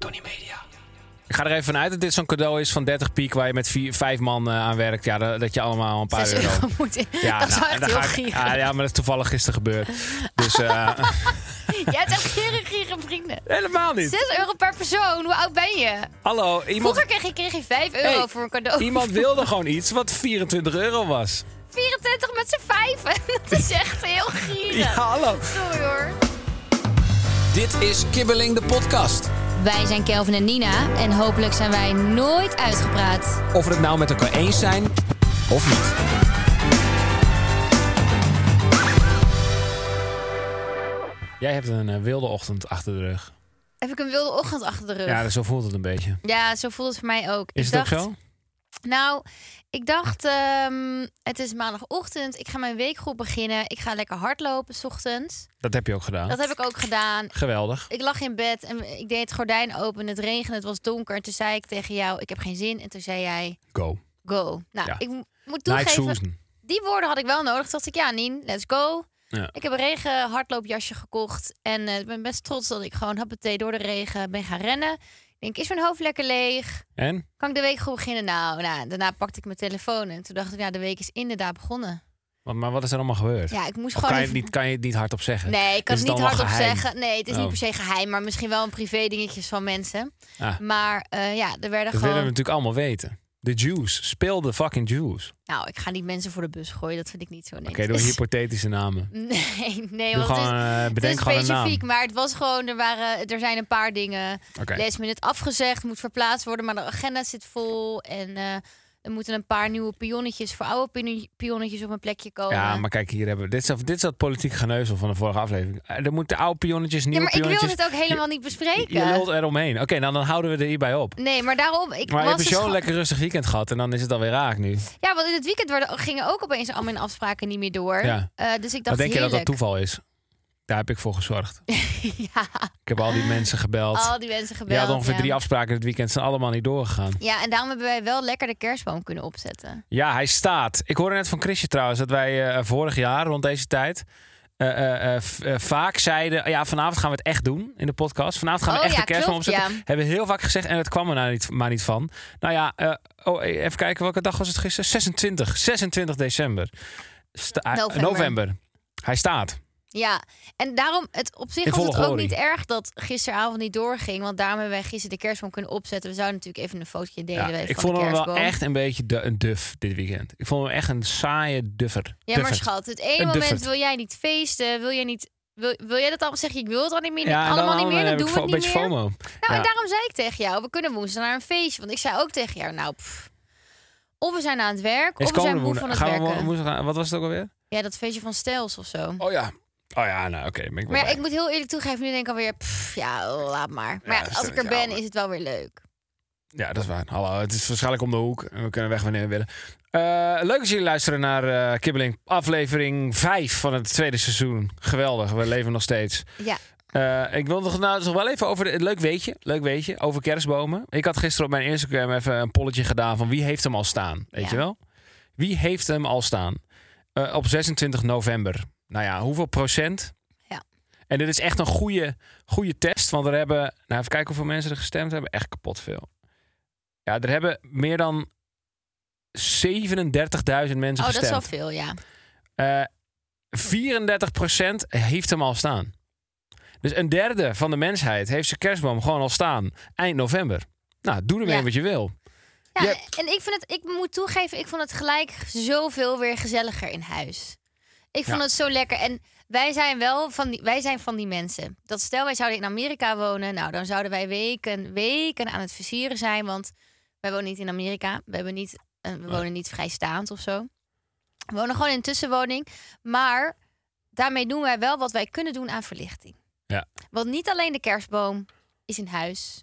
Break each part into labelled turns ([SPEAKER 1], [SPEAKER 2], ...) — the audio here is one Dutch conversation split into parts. [SPEAKER 1] Tony Media.
[SPEAKER 2] Ik ga er even vanuit dat dit zo'n cadeau is van 30 piek waar je met vier, vijf man eh, aan werkt. Ja, dat, dat je allemaal een paar
[SPEAKER 1] Zes
[SPEAKER 2] euro...
[SPEAKER 1] euro moet in.
[SPEAKER 2] Ja,
[SPEAKER 1] dat
[SPEAKER 2] nou,
[SPEAKER 1] zou
[SPEAKER 2] en
[SPEAKER 1] echt
[SPEAKER 2] dan
[SPEAKER 1] heel
[SPEAKER 2] ga ik-
[SPEAKER 1] gierig.
[SPEAKER 2] ah, ja, maar dat is toevallig gisteren gebeurd. Dus eh,
[SPEAKER 1] Jij hebt echt gierig, gierige vrienden.
[SPEAKER 2] helemaal niet.
[SPEAKER 1] 6 euro per persoon, hoe oud ben je?
[SPEAKER 2] Hallo, iemand,
[SPEAKER 1] Vroeger kreeg je, kreeg je 5 euro
[SPEAKER 2] Hey,
[SPEAKER 1] voor een cadeau.
[SPEAKER 2] iemand wilde gewoon iets wat 24 euro was.
[SPEAKER 1] 24 met z'n vijven. Dat is echt heel gierig.
[SPEAKER 2] Ja, hallo.
[SPEAKER 1] Sorry hoor.
[SPEAKER 3] Dit is Kibbeling de podcast.
[SPEAKER 1] Wij zijn Kelvin en Nina en hopelijk zijn wij nooit uitgepraat.
[SPEAKER 3] Of we het nou met elkaar eens zijn of niet.
[SPEAKER 2] Jij hebt een eh, wilde ochtend achter de rug.
[SPEAKER 1] Heb ik een wilde ochtend achter de rug? Ja,
[SPEAKER 2] Ja, zo voelt het een beetje.
[SPEAKER 1] zo voelt het voor mij ook.
[SPEAKER 2] Is
[SPEAKER 1] ik
[SPEAKER 2] het ook
[SPEAKER 1] dacht,
[SPEAKER 2] zo?
[SPEAKER 1] Nou, ik dacht, ehm, het is maandagochtend. Ik ga mijn weekgroep beginnen. Ik ga lekker hardlopen s ochtends.
[SPEAKER 2] Dat heb je ook gedaan.
[SPEAKER 1] Dat heb ik ook gedaan.
[SPEAKER 2] Geweldig.
[SPEAKER 1] Ik lag in bed en ik deed het gordijn open. Het regende, het was donker. En toen zei ik tegen jou, ik heb geen zin. En toen zei jij,
[SPEAKER 2] Go.
[SPEAKER 1] go. Nou,
[SPEAKER 2] Ja.
[SPEAKER 1] ik mo-
[SPEAKER 2] Night
[SPEAKER 1] moet toegeven,
[SPEAKER 2] Susan.
[SPEAKER 1] die woorden had ik wel nodig. Toen dacht ik, ja Nien, let's go.
[SPEAKER 2] Ja.
[SPEAKER 1] Ik heb een regen hardloopjasje gekocht. En eh, ik ben best trots dat ik gewoon happetee door de regen ben gaan rennen. Ik denk, is mijn hoofd lekker leeg?
[SPEAKER 2] En?
[SPEAKER 1] Kan ik de week goed beginnen? Nou, nou, daarna pakte ik mijn telefoon. En toen dacht ik, nou, de week is inderdaad begonnen.
[SPEAKER 2] Wat- Maar wat is er allemaal gebeurd?
[SPEAKER 1] Ja, ik moest
[SPEAKER 2] Of
[SPEAKER 1] gewoon...
[SPEAKER 2] kan, je het
[SPEAKER 1] even-
[SPEAKER 2] niet, kan je het niet hardop zeggen?
[SPEAKER 1] Nee, ik kan
[SPEAKER 2] Is
[SPEAKER 1] het
[SPEAKER 2] het
[SPEAKER 1] niet
[SPEAKER 2] dan wel
[SPEAKER 1] hardop
[SPEAKER 2] geheim?
[SPEAKER 1] zeggen. Nee, het is
[SPEAKER 2] Oh.
[SPEAKER 1] niet per se geheim, maar misschien wel een privé dingetjes van mensen.
[SPEAKER 2] Ah.
[SPEAKER 1] Maar eh, ja,
[SPEAKER 2] Dat
[SPEAKER 1] er werden gewoon...
[SPEAKER 2] willen we natuurlijk allemaal weten. De juice. Speel de fucking juice.
[SPEAKER 1] Nou, ik ga niet mensen voor de bus gooien. Dat vind ik niet zo niks.
[SPEAKER 2] Oké, doe hypothetische namen.
[SPEAKER 1] Nee, nee,
[SPEAKER 2] Doe
[SPEAKER 1] want
[SPEAKER 2] gewoon,
[SPEAKER 1] het is...
[SPEAKER 2] eh,
[SPEAKER 1] Het is
[SPEAKER 2] bedenk gewoon een naam.
[SPEAKER 1] specifiek, maar het was gewoon, er, waren, er zijn een paar dingen
[SPEAKER 2] Oké.
[SPEAKER 1] last minute afgezegd, moet verplaatst worden, maar de agenda zit vol en eh, er moeten een paar nieuwe pionnetjes voor oude pino- pionnetjes op een plekje komen.
[SPEAKER 2] Ja, maar kijk, hier hebben we. Dit is, dat- dit is dat politieke geneuzel van de vorige aflevering. Eh, Er moeten oude pionnetjes,
[SPEAKER 1] Ja,
[SPEAKER 2] nieuwe
[SPEAKER 1] maar ik wil
[SPEAKER 2] pionnetjes.
[SPEAKER 1] dit ook helemaal niet bespreken.
[SPEAKER 2] Je lult eromheen. Oké, nou dan houden we er hierbij op.
[SPEAKER 1] Nee, maar daarom, ik
[SPEAKER 2] Maar
[SPEAKER 1] was
[SPEAKER 2] heb je
[SPEAKER 1] dus
[SPEAKER 2] zo'n
[SPEAKER 1] gewoon-
[SPEAKER 2] lekker rustig weekend gehad en dan is het alweer raak nu.
[SPEAKER 1] Ja, want in het weekend werden, gingen ook opeens al mijn afspraken niet meer door.
[SPEAKER 2] Ja.
[SPEAKER 1] Eh, dus ik
[SPEAKER 2] Wat
[SPEAKER 1] dacht,
[SPEAKER 2] denk je dat dat
[SPEAKER 1] heerlijk.
[SPEAKER 2] toeval is? Daar heb ik voor gezorgd.
[SPEAKER 1] ja,
[SPEAKER 2] Ik heb al die mensen gebeld.
[SPEAKER 1] al die mensen
[SPEAKER 2] Je
[SPEAKER 1] Oh, gebeld.
[SPEAKER 2] had ongeveer
[SPEAKER 1] ja.
[SPEAKER 2] drie afspraken dit weekend, zijn allemaal niet doorgegaan.
[SPEAKER 1] Ja, en daarom hebben wij wel lekker de kerstboom kunnen opzetten.
[SPEAKER 2] Ja, hij staat. Ik hoorde net van Chrisje trouwens dat wij eh, vorig jaar rond deze tijd eh, eh, eh, v- eh, vaak zeiden: ja, vanavond gaan we het echt doen in de podcast. Vanavond gaan we
[SPEAKER 1] Oh
[SPEAKER 2] echt
[SPEAKER 1] ja,
[SPEAKER 2] de kerstboom
[SPEAKER 1] klopt,
[SPEAKER 2] opzetten.
[SPEAKER 1] ja.
[SPEAKER 2] Hebben we heel vaak gezegd en het kwam er nou niet, maar niet van. Nou ja, eh, oh, even kijken welke dag was het gisteren? 26, 26 december. Sta-
[SPEAKER 1] November.
[SPEAKER 2] november. Hij staat.
[SPEAKER 1] Ja, en daarom, het, op zich
[SPEAKER 2] In
[SPEAKER 1] was
[SPEAKER 2] volle
[SPEAKER 1] het ook
[SPEAKER 2] glorie.
[SPEAKER 1] niet erg dat gisteravond niet doorging. Want daarom hebben wij gisteren de kerstboom kunnen opzetten. We zouden natuurlijk even een fotootje delen.
[SPEAKER 2] Ja,
[SPEAKER 1] wij
[SPEAKER 2] ik
[SPEAKER 1] van
[SPEAKER 2] vond
[SPEAKER 1] de
[SPEAKER 2] hem wel
[SPEAKER 1] kerstboom.
[SPEAKER 2] echt een beetje du- een duf dit weekend. Ik vond hem echt een saaie duffer.
[SPEAKER 1] Ja, maar
[SPEAKER 2] Duffert.
[SPEAKER 1] schat, het ene
[SPEAKER 2] Een
[SPEAKER 1] moment
[SPEAKER 2] duffert.
[SPEAKER 1] wil jij niet feesten. Wil jij niet... Wil, wil jij dat allemaal zeggen? Ik wil het al niet meer,
[SPEAKER 2] Ja, en dan
[SPEAKER 1] allemaal niet meer, dan
[SPEAKER 2] heb ik
[SPEAKER 1] doen we
[SPEAKER 2] fo-
[SPEAKER 1] het
[SPEAKER 2] een
[SPEAKER 1] niet
[SPEAKER 2] beetje
[SPEAKER 1] meer.
[SPEAKER 2] FOMO.
[SPEAKER 1] Nou,
[SPEAKER 2] Ja.
[SPEAKER 1] en daarom zei ik tegen jou, we kunnen woensdag naar een feestje. Want ik zei ook tegen jou, nou, pff, of we zijn aan het werk,
[SPEAKER 2] Is
[SPEAKER 1] of we zijn
[SPEAKER 2] komende
[SPEAKER 1] moe van
[SPEAKER 2] woensdag-
[SPEAKER 1] het
[SPEAKER 2] gaan we
[SPEAKER 1] werken.
[SPEAKER 2] woensdag aan- Wat was het ook alweer?
[SPEAKER 1] Ja, dat feestje van Stels of zo.
[SPEAKER 2] Oh ja. Oh ja, nou oké. ben ik wel
[SPEAKER 1] Maar ja,
[SPEAKER 2] bij.
[SPEAKER 1] ik moet heel eerlijk toegeven, nu denk ik alweer, pff, ja, laat maar. Maar ja,
[SPEAKER 2] dat is
[SPEAKER 1] als ik er
[SPEAKER 2] stelletje
[SPEAKER 1] ben,
[SPEAKER 2] ouwe.
[SPEAKER 1] is het wel weer leuk.
[SPEAKER 2] Ja, dat is waar. Hallo, het is waarschijnlijk om de hoek. En we kunnen weg wanneer we willen. Eh, leuk dat jullie luisteren naar eh, Kibbeling. Aflevering 5 van het tweede seizoen. Geweldig, we leven nog steeds.
[SPEAKER 1] Ja.
[SPEAKER 2] Eh, ik wil nog, nou, nog wel even over... De, leuk weetje, leuk weetje, over kerstbomen. Ik had gisteren op mijn Instagram even een polletje gedaan... van wie heeft hem al staan, weet
[SPEAKER 1] Ja.
[SPEAKER 2] je wel? Wie heeft hem al staan? Eh, op 26 november. Nou ja, hoeveel procent?
[SPEAKER 1] Ja.
[SPEAKER 2] En dit is echt een goede, goede test. Want er hebben... Nou, even kijken hoeveel mensen er gestemd hebben. Echt kapot veel. Ja, er hebben meer dan 37.000 mensen
[SPEAKER 1] Oh, dat is
[SPEAKER 2] gestemd.
[SPEAKER 1] wel veel, ja.
[SPEAKER 2] Eh, 34% heeft hem al staan. Dus een derde van de mensheid heeft zijn kerstboom gewoon al staan eind november. Nou, doe ermee
[SPEAKER 1] Ja.
[SPEAKER 2] wat je wil.
[SPEAKER 1] ja
[SPEAKER 2] Je-
[SPEAKER 1] En ik, vind het, ik moet toegeven, ik vond het gelijk zoveel weer gezelliger in huis. Ik vond
[SPEAKER 2] Ja.
[SPEAKER 1] het zo lekker. En wij zijn wel van die, wij zijn van die mensen. Dat stel, wij zouden in Amerika wonen. Nou, dan zouden wij weken, weken aan het versieren zijn. Want wij wonen niet in Amerika. We, hebben niet, eh, we wonen niet vrijstaand of zo. We wonen gewoon in een tussenwoning. Maar daarmee doen wij wel wat wij kunnen doen aan verlichting.
[SPEAKER 2] Ja.
[SPEAKER 1] Want niet alleen de kerstboom is in huis.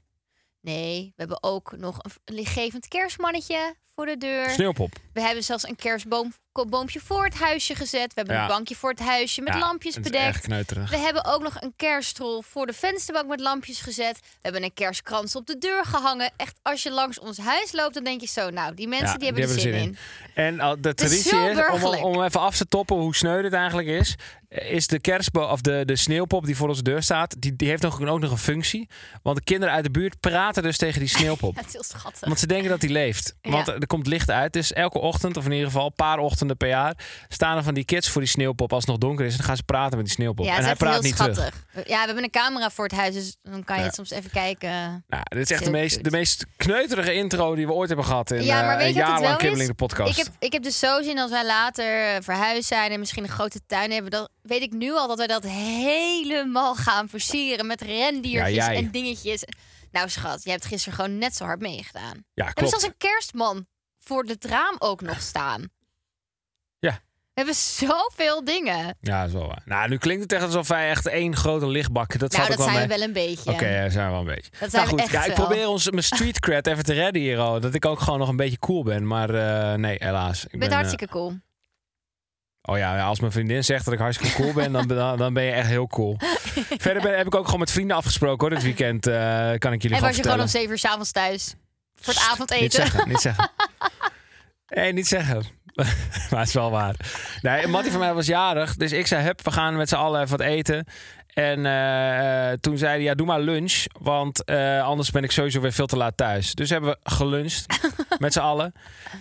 [SPEAKER 1] Nee, we hebben ook nog een v- een lichtgevend kerstmannetje voor de deur.
[SPEAKER 2] Sneeuwpop.
[SPEAKER 1] We hebben zelfs een kerstboompje voor het huisje gezet. We hebben
[SPEAKER 2] Ja.
[SPEAKER 1] een bankje voor het huisje met
[SPEAKER 2] Ja,
[SPEAKER 1] lampjes
[SPEAKER 2] het is echt
[SPEAKER 1] bedekt.
[SPEAKER 2] kneuterig.
[SPEAKER 1] We hebben ook nog een kerstrol voor de vensterbank met lampjes gezet. We hebben een kerstkrans op de deur gehangen. Echt, als je langs ons huis loopt, dan denk je zo... Nou, die mensen
[SPEAKER 2] Ja,
[SPEAKER 1] die hebben er zin in.
[SPEAKER 2] En al- de
[SPEAKER 1] is
[SPEAKER 2] traditie
[SPEAKER 1] zo
[SPEAKER 2] is, om- om,
[SPEAKER 1] burgerlijk.
[SPEAKER 2] om even af te toppen hoe sneu dit eigenlijk is, eh, is de kerstboom of de, de sneeuwpop die voor onze deur staat, die, die heeft nog, ook nog een functie. Want de kinderen uit de buurt praten dus tegen die sneeuwpop.
[SPEAKER 1] Dat is heel schattig.
[SPEAKER 2] Want ze denken dat die leeft.
[SPEAKER 1] Ja.
[SPEAKER 2] Want er komt licht uit. Dus elke ochtend, of in ieder geval een paar ochtenden per jaar, staan er van die kids voor die sneeuwpop als het nog donker is. En dan gaan ze praten met die sneeuwpop.
[SPEAKER 1] Ja, het
[SPEAKER 2] en hij
[SPEAKER 1] is echt
[SPEAKER 2] praat
[SPEAKER 1] heel
[SPEAKER 2] niet terug.
[SPEAKER 1] schattig. Ja, we hebben een camera voor het huis, dus dan kan je
[SPEAKER 2] Ja.
[SPEAKER 1] het soms even kijken.
[SPEAKER 2] Nou, dit is echt de
[SPEAKER 1] Heel
[SPEAKER 2] meest,
[SPEAKER 1] cute.
[SPEAKER 2] de meest kneuterige intro die we ooit hebben gehad in
[SPEAKER 1] Ja, maar
[SPEAKER 2] eh, een
[SPEAKER 1] weet je wat
[SPEAKER 2] jaar
[SPEAKER 1] het
[SPEAKER 2] lang
[SPEAKER 1] wel
[SPEAKER 2] Kibbeling de
[SPEAKER 1] is?
[SPEAKER 2] podcast.
[SPEAKER 1] Ik heb, ik heb dus zo zin als wij later eh, verhuisd zijn en misschien een grote tuin hebben. Dan weet ik nu al dat wij dat helemaal gaan versieren met rendiertjes
[SPEAKER 2] Ja, jij.
[SPEAKER 1] en dingetjes. Nou schat, je hebt gisteren gewoon net zo hard meegedaan.
[SPEAKER 2] ja,
[SPEAKER 1] We hebben
[SPEAKER 2] klopt.
[SPEAKER 1] zelfs een kerstman voor het raam ook nog staan.
[SPEAKER 2] Ja.
[SPEAKER 1] We hebben zoveel dingen.
[SPEAKER 2] Ja, dat is wel waar. Nou, nu klinkt het echt alsof wij echt één grote lichtbak... Dat
[SPEAKER 1] nou,
[SPEAKER 2] valt
[SPEAKER 1] dat
[SPEAKER 2] ook
[SPEAKER 1] zijn
[SPEAKER 2] wel
[SPEAKER 1] we
[SPEAKER 2] mee.
[SPEAKER 1] wel een beetje.
[SPEAKER 2] Oké, ja, zijn we wel een beetje.
[SPEAKER 1] Dat zijn
[SPEAKER 2] nou
[SPEAKER 1] we
[SPEAKER 2] goed,
[SPEAKER 1] echt
[SPEAKER 2] ja, ik
[SPEAKER 1] wel.
[SPEAKER 2] probeer ons, mijn street cred even te redden hier. al dat ik ook gewoon nog een beetje cool ben. Maar eh, nee, helaas. Ik
[SPEAKER 1] Je
[SPEAKER 2] ben,
[SPEAKER 1] bent
[SPEAKER 2] eh,
[SPEAKER 1] hartstikke cool.
[SPEAKER 2] Oh ja, ja, als mijn vriendin zegt dat ik hartstikke cool ben, dan, dan, dan ben je echt heel cool. Verder ben, heb ik ook gewoon met vrienden afgesproken hoor, dit weekend. eh, kan ik jullie
[SPEAKER 1] En
[SPEAKER 2] gewoon
[SPEAKER 1] was je gewoon
[SPEAKER 2] vertellen.
[SPEAKER 1] om 7 uur s'avonds thuis? Voor het
[SPEAKER 2] Sst, Niet
[SPEAKER 1] avondeten?
[SPEAKER 2] zeggen, niet zeggen. Nee, niet zeggen. maar het is wel waar. Nee, Mattie van mij was jarig, dus ik zei, hup, we gaan met z'n allen even wat eten. En eh, eh, toen zei hij, ja, doe maar lunch, want eh, anders ben ik sowieso weer veel te laat thuis. Dus hebben we geluncht met z'n allen.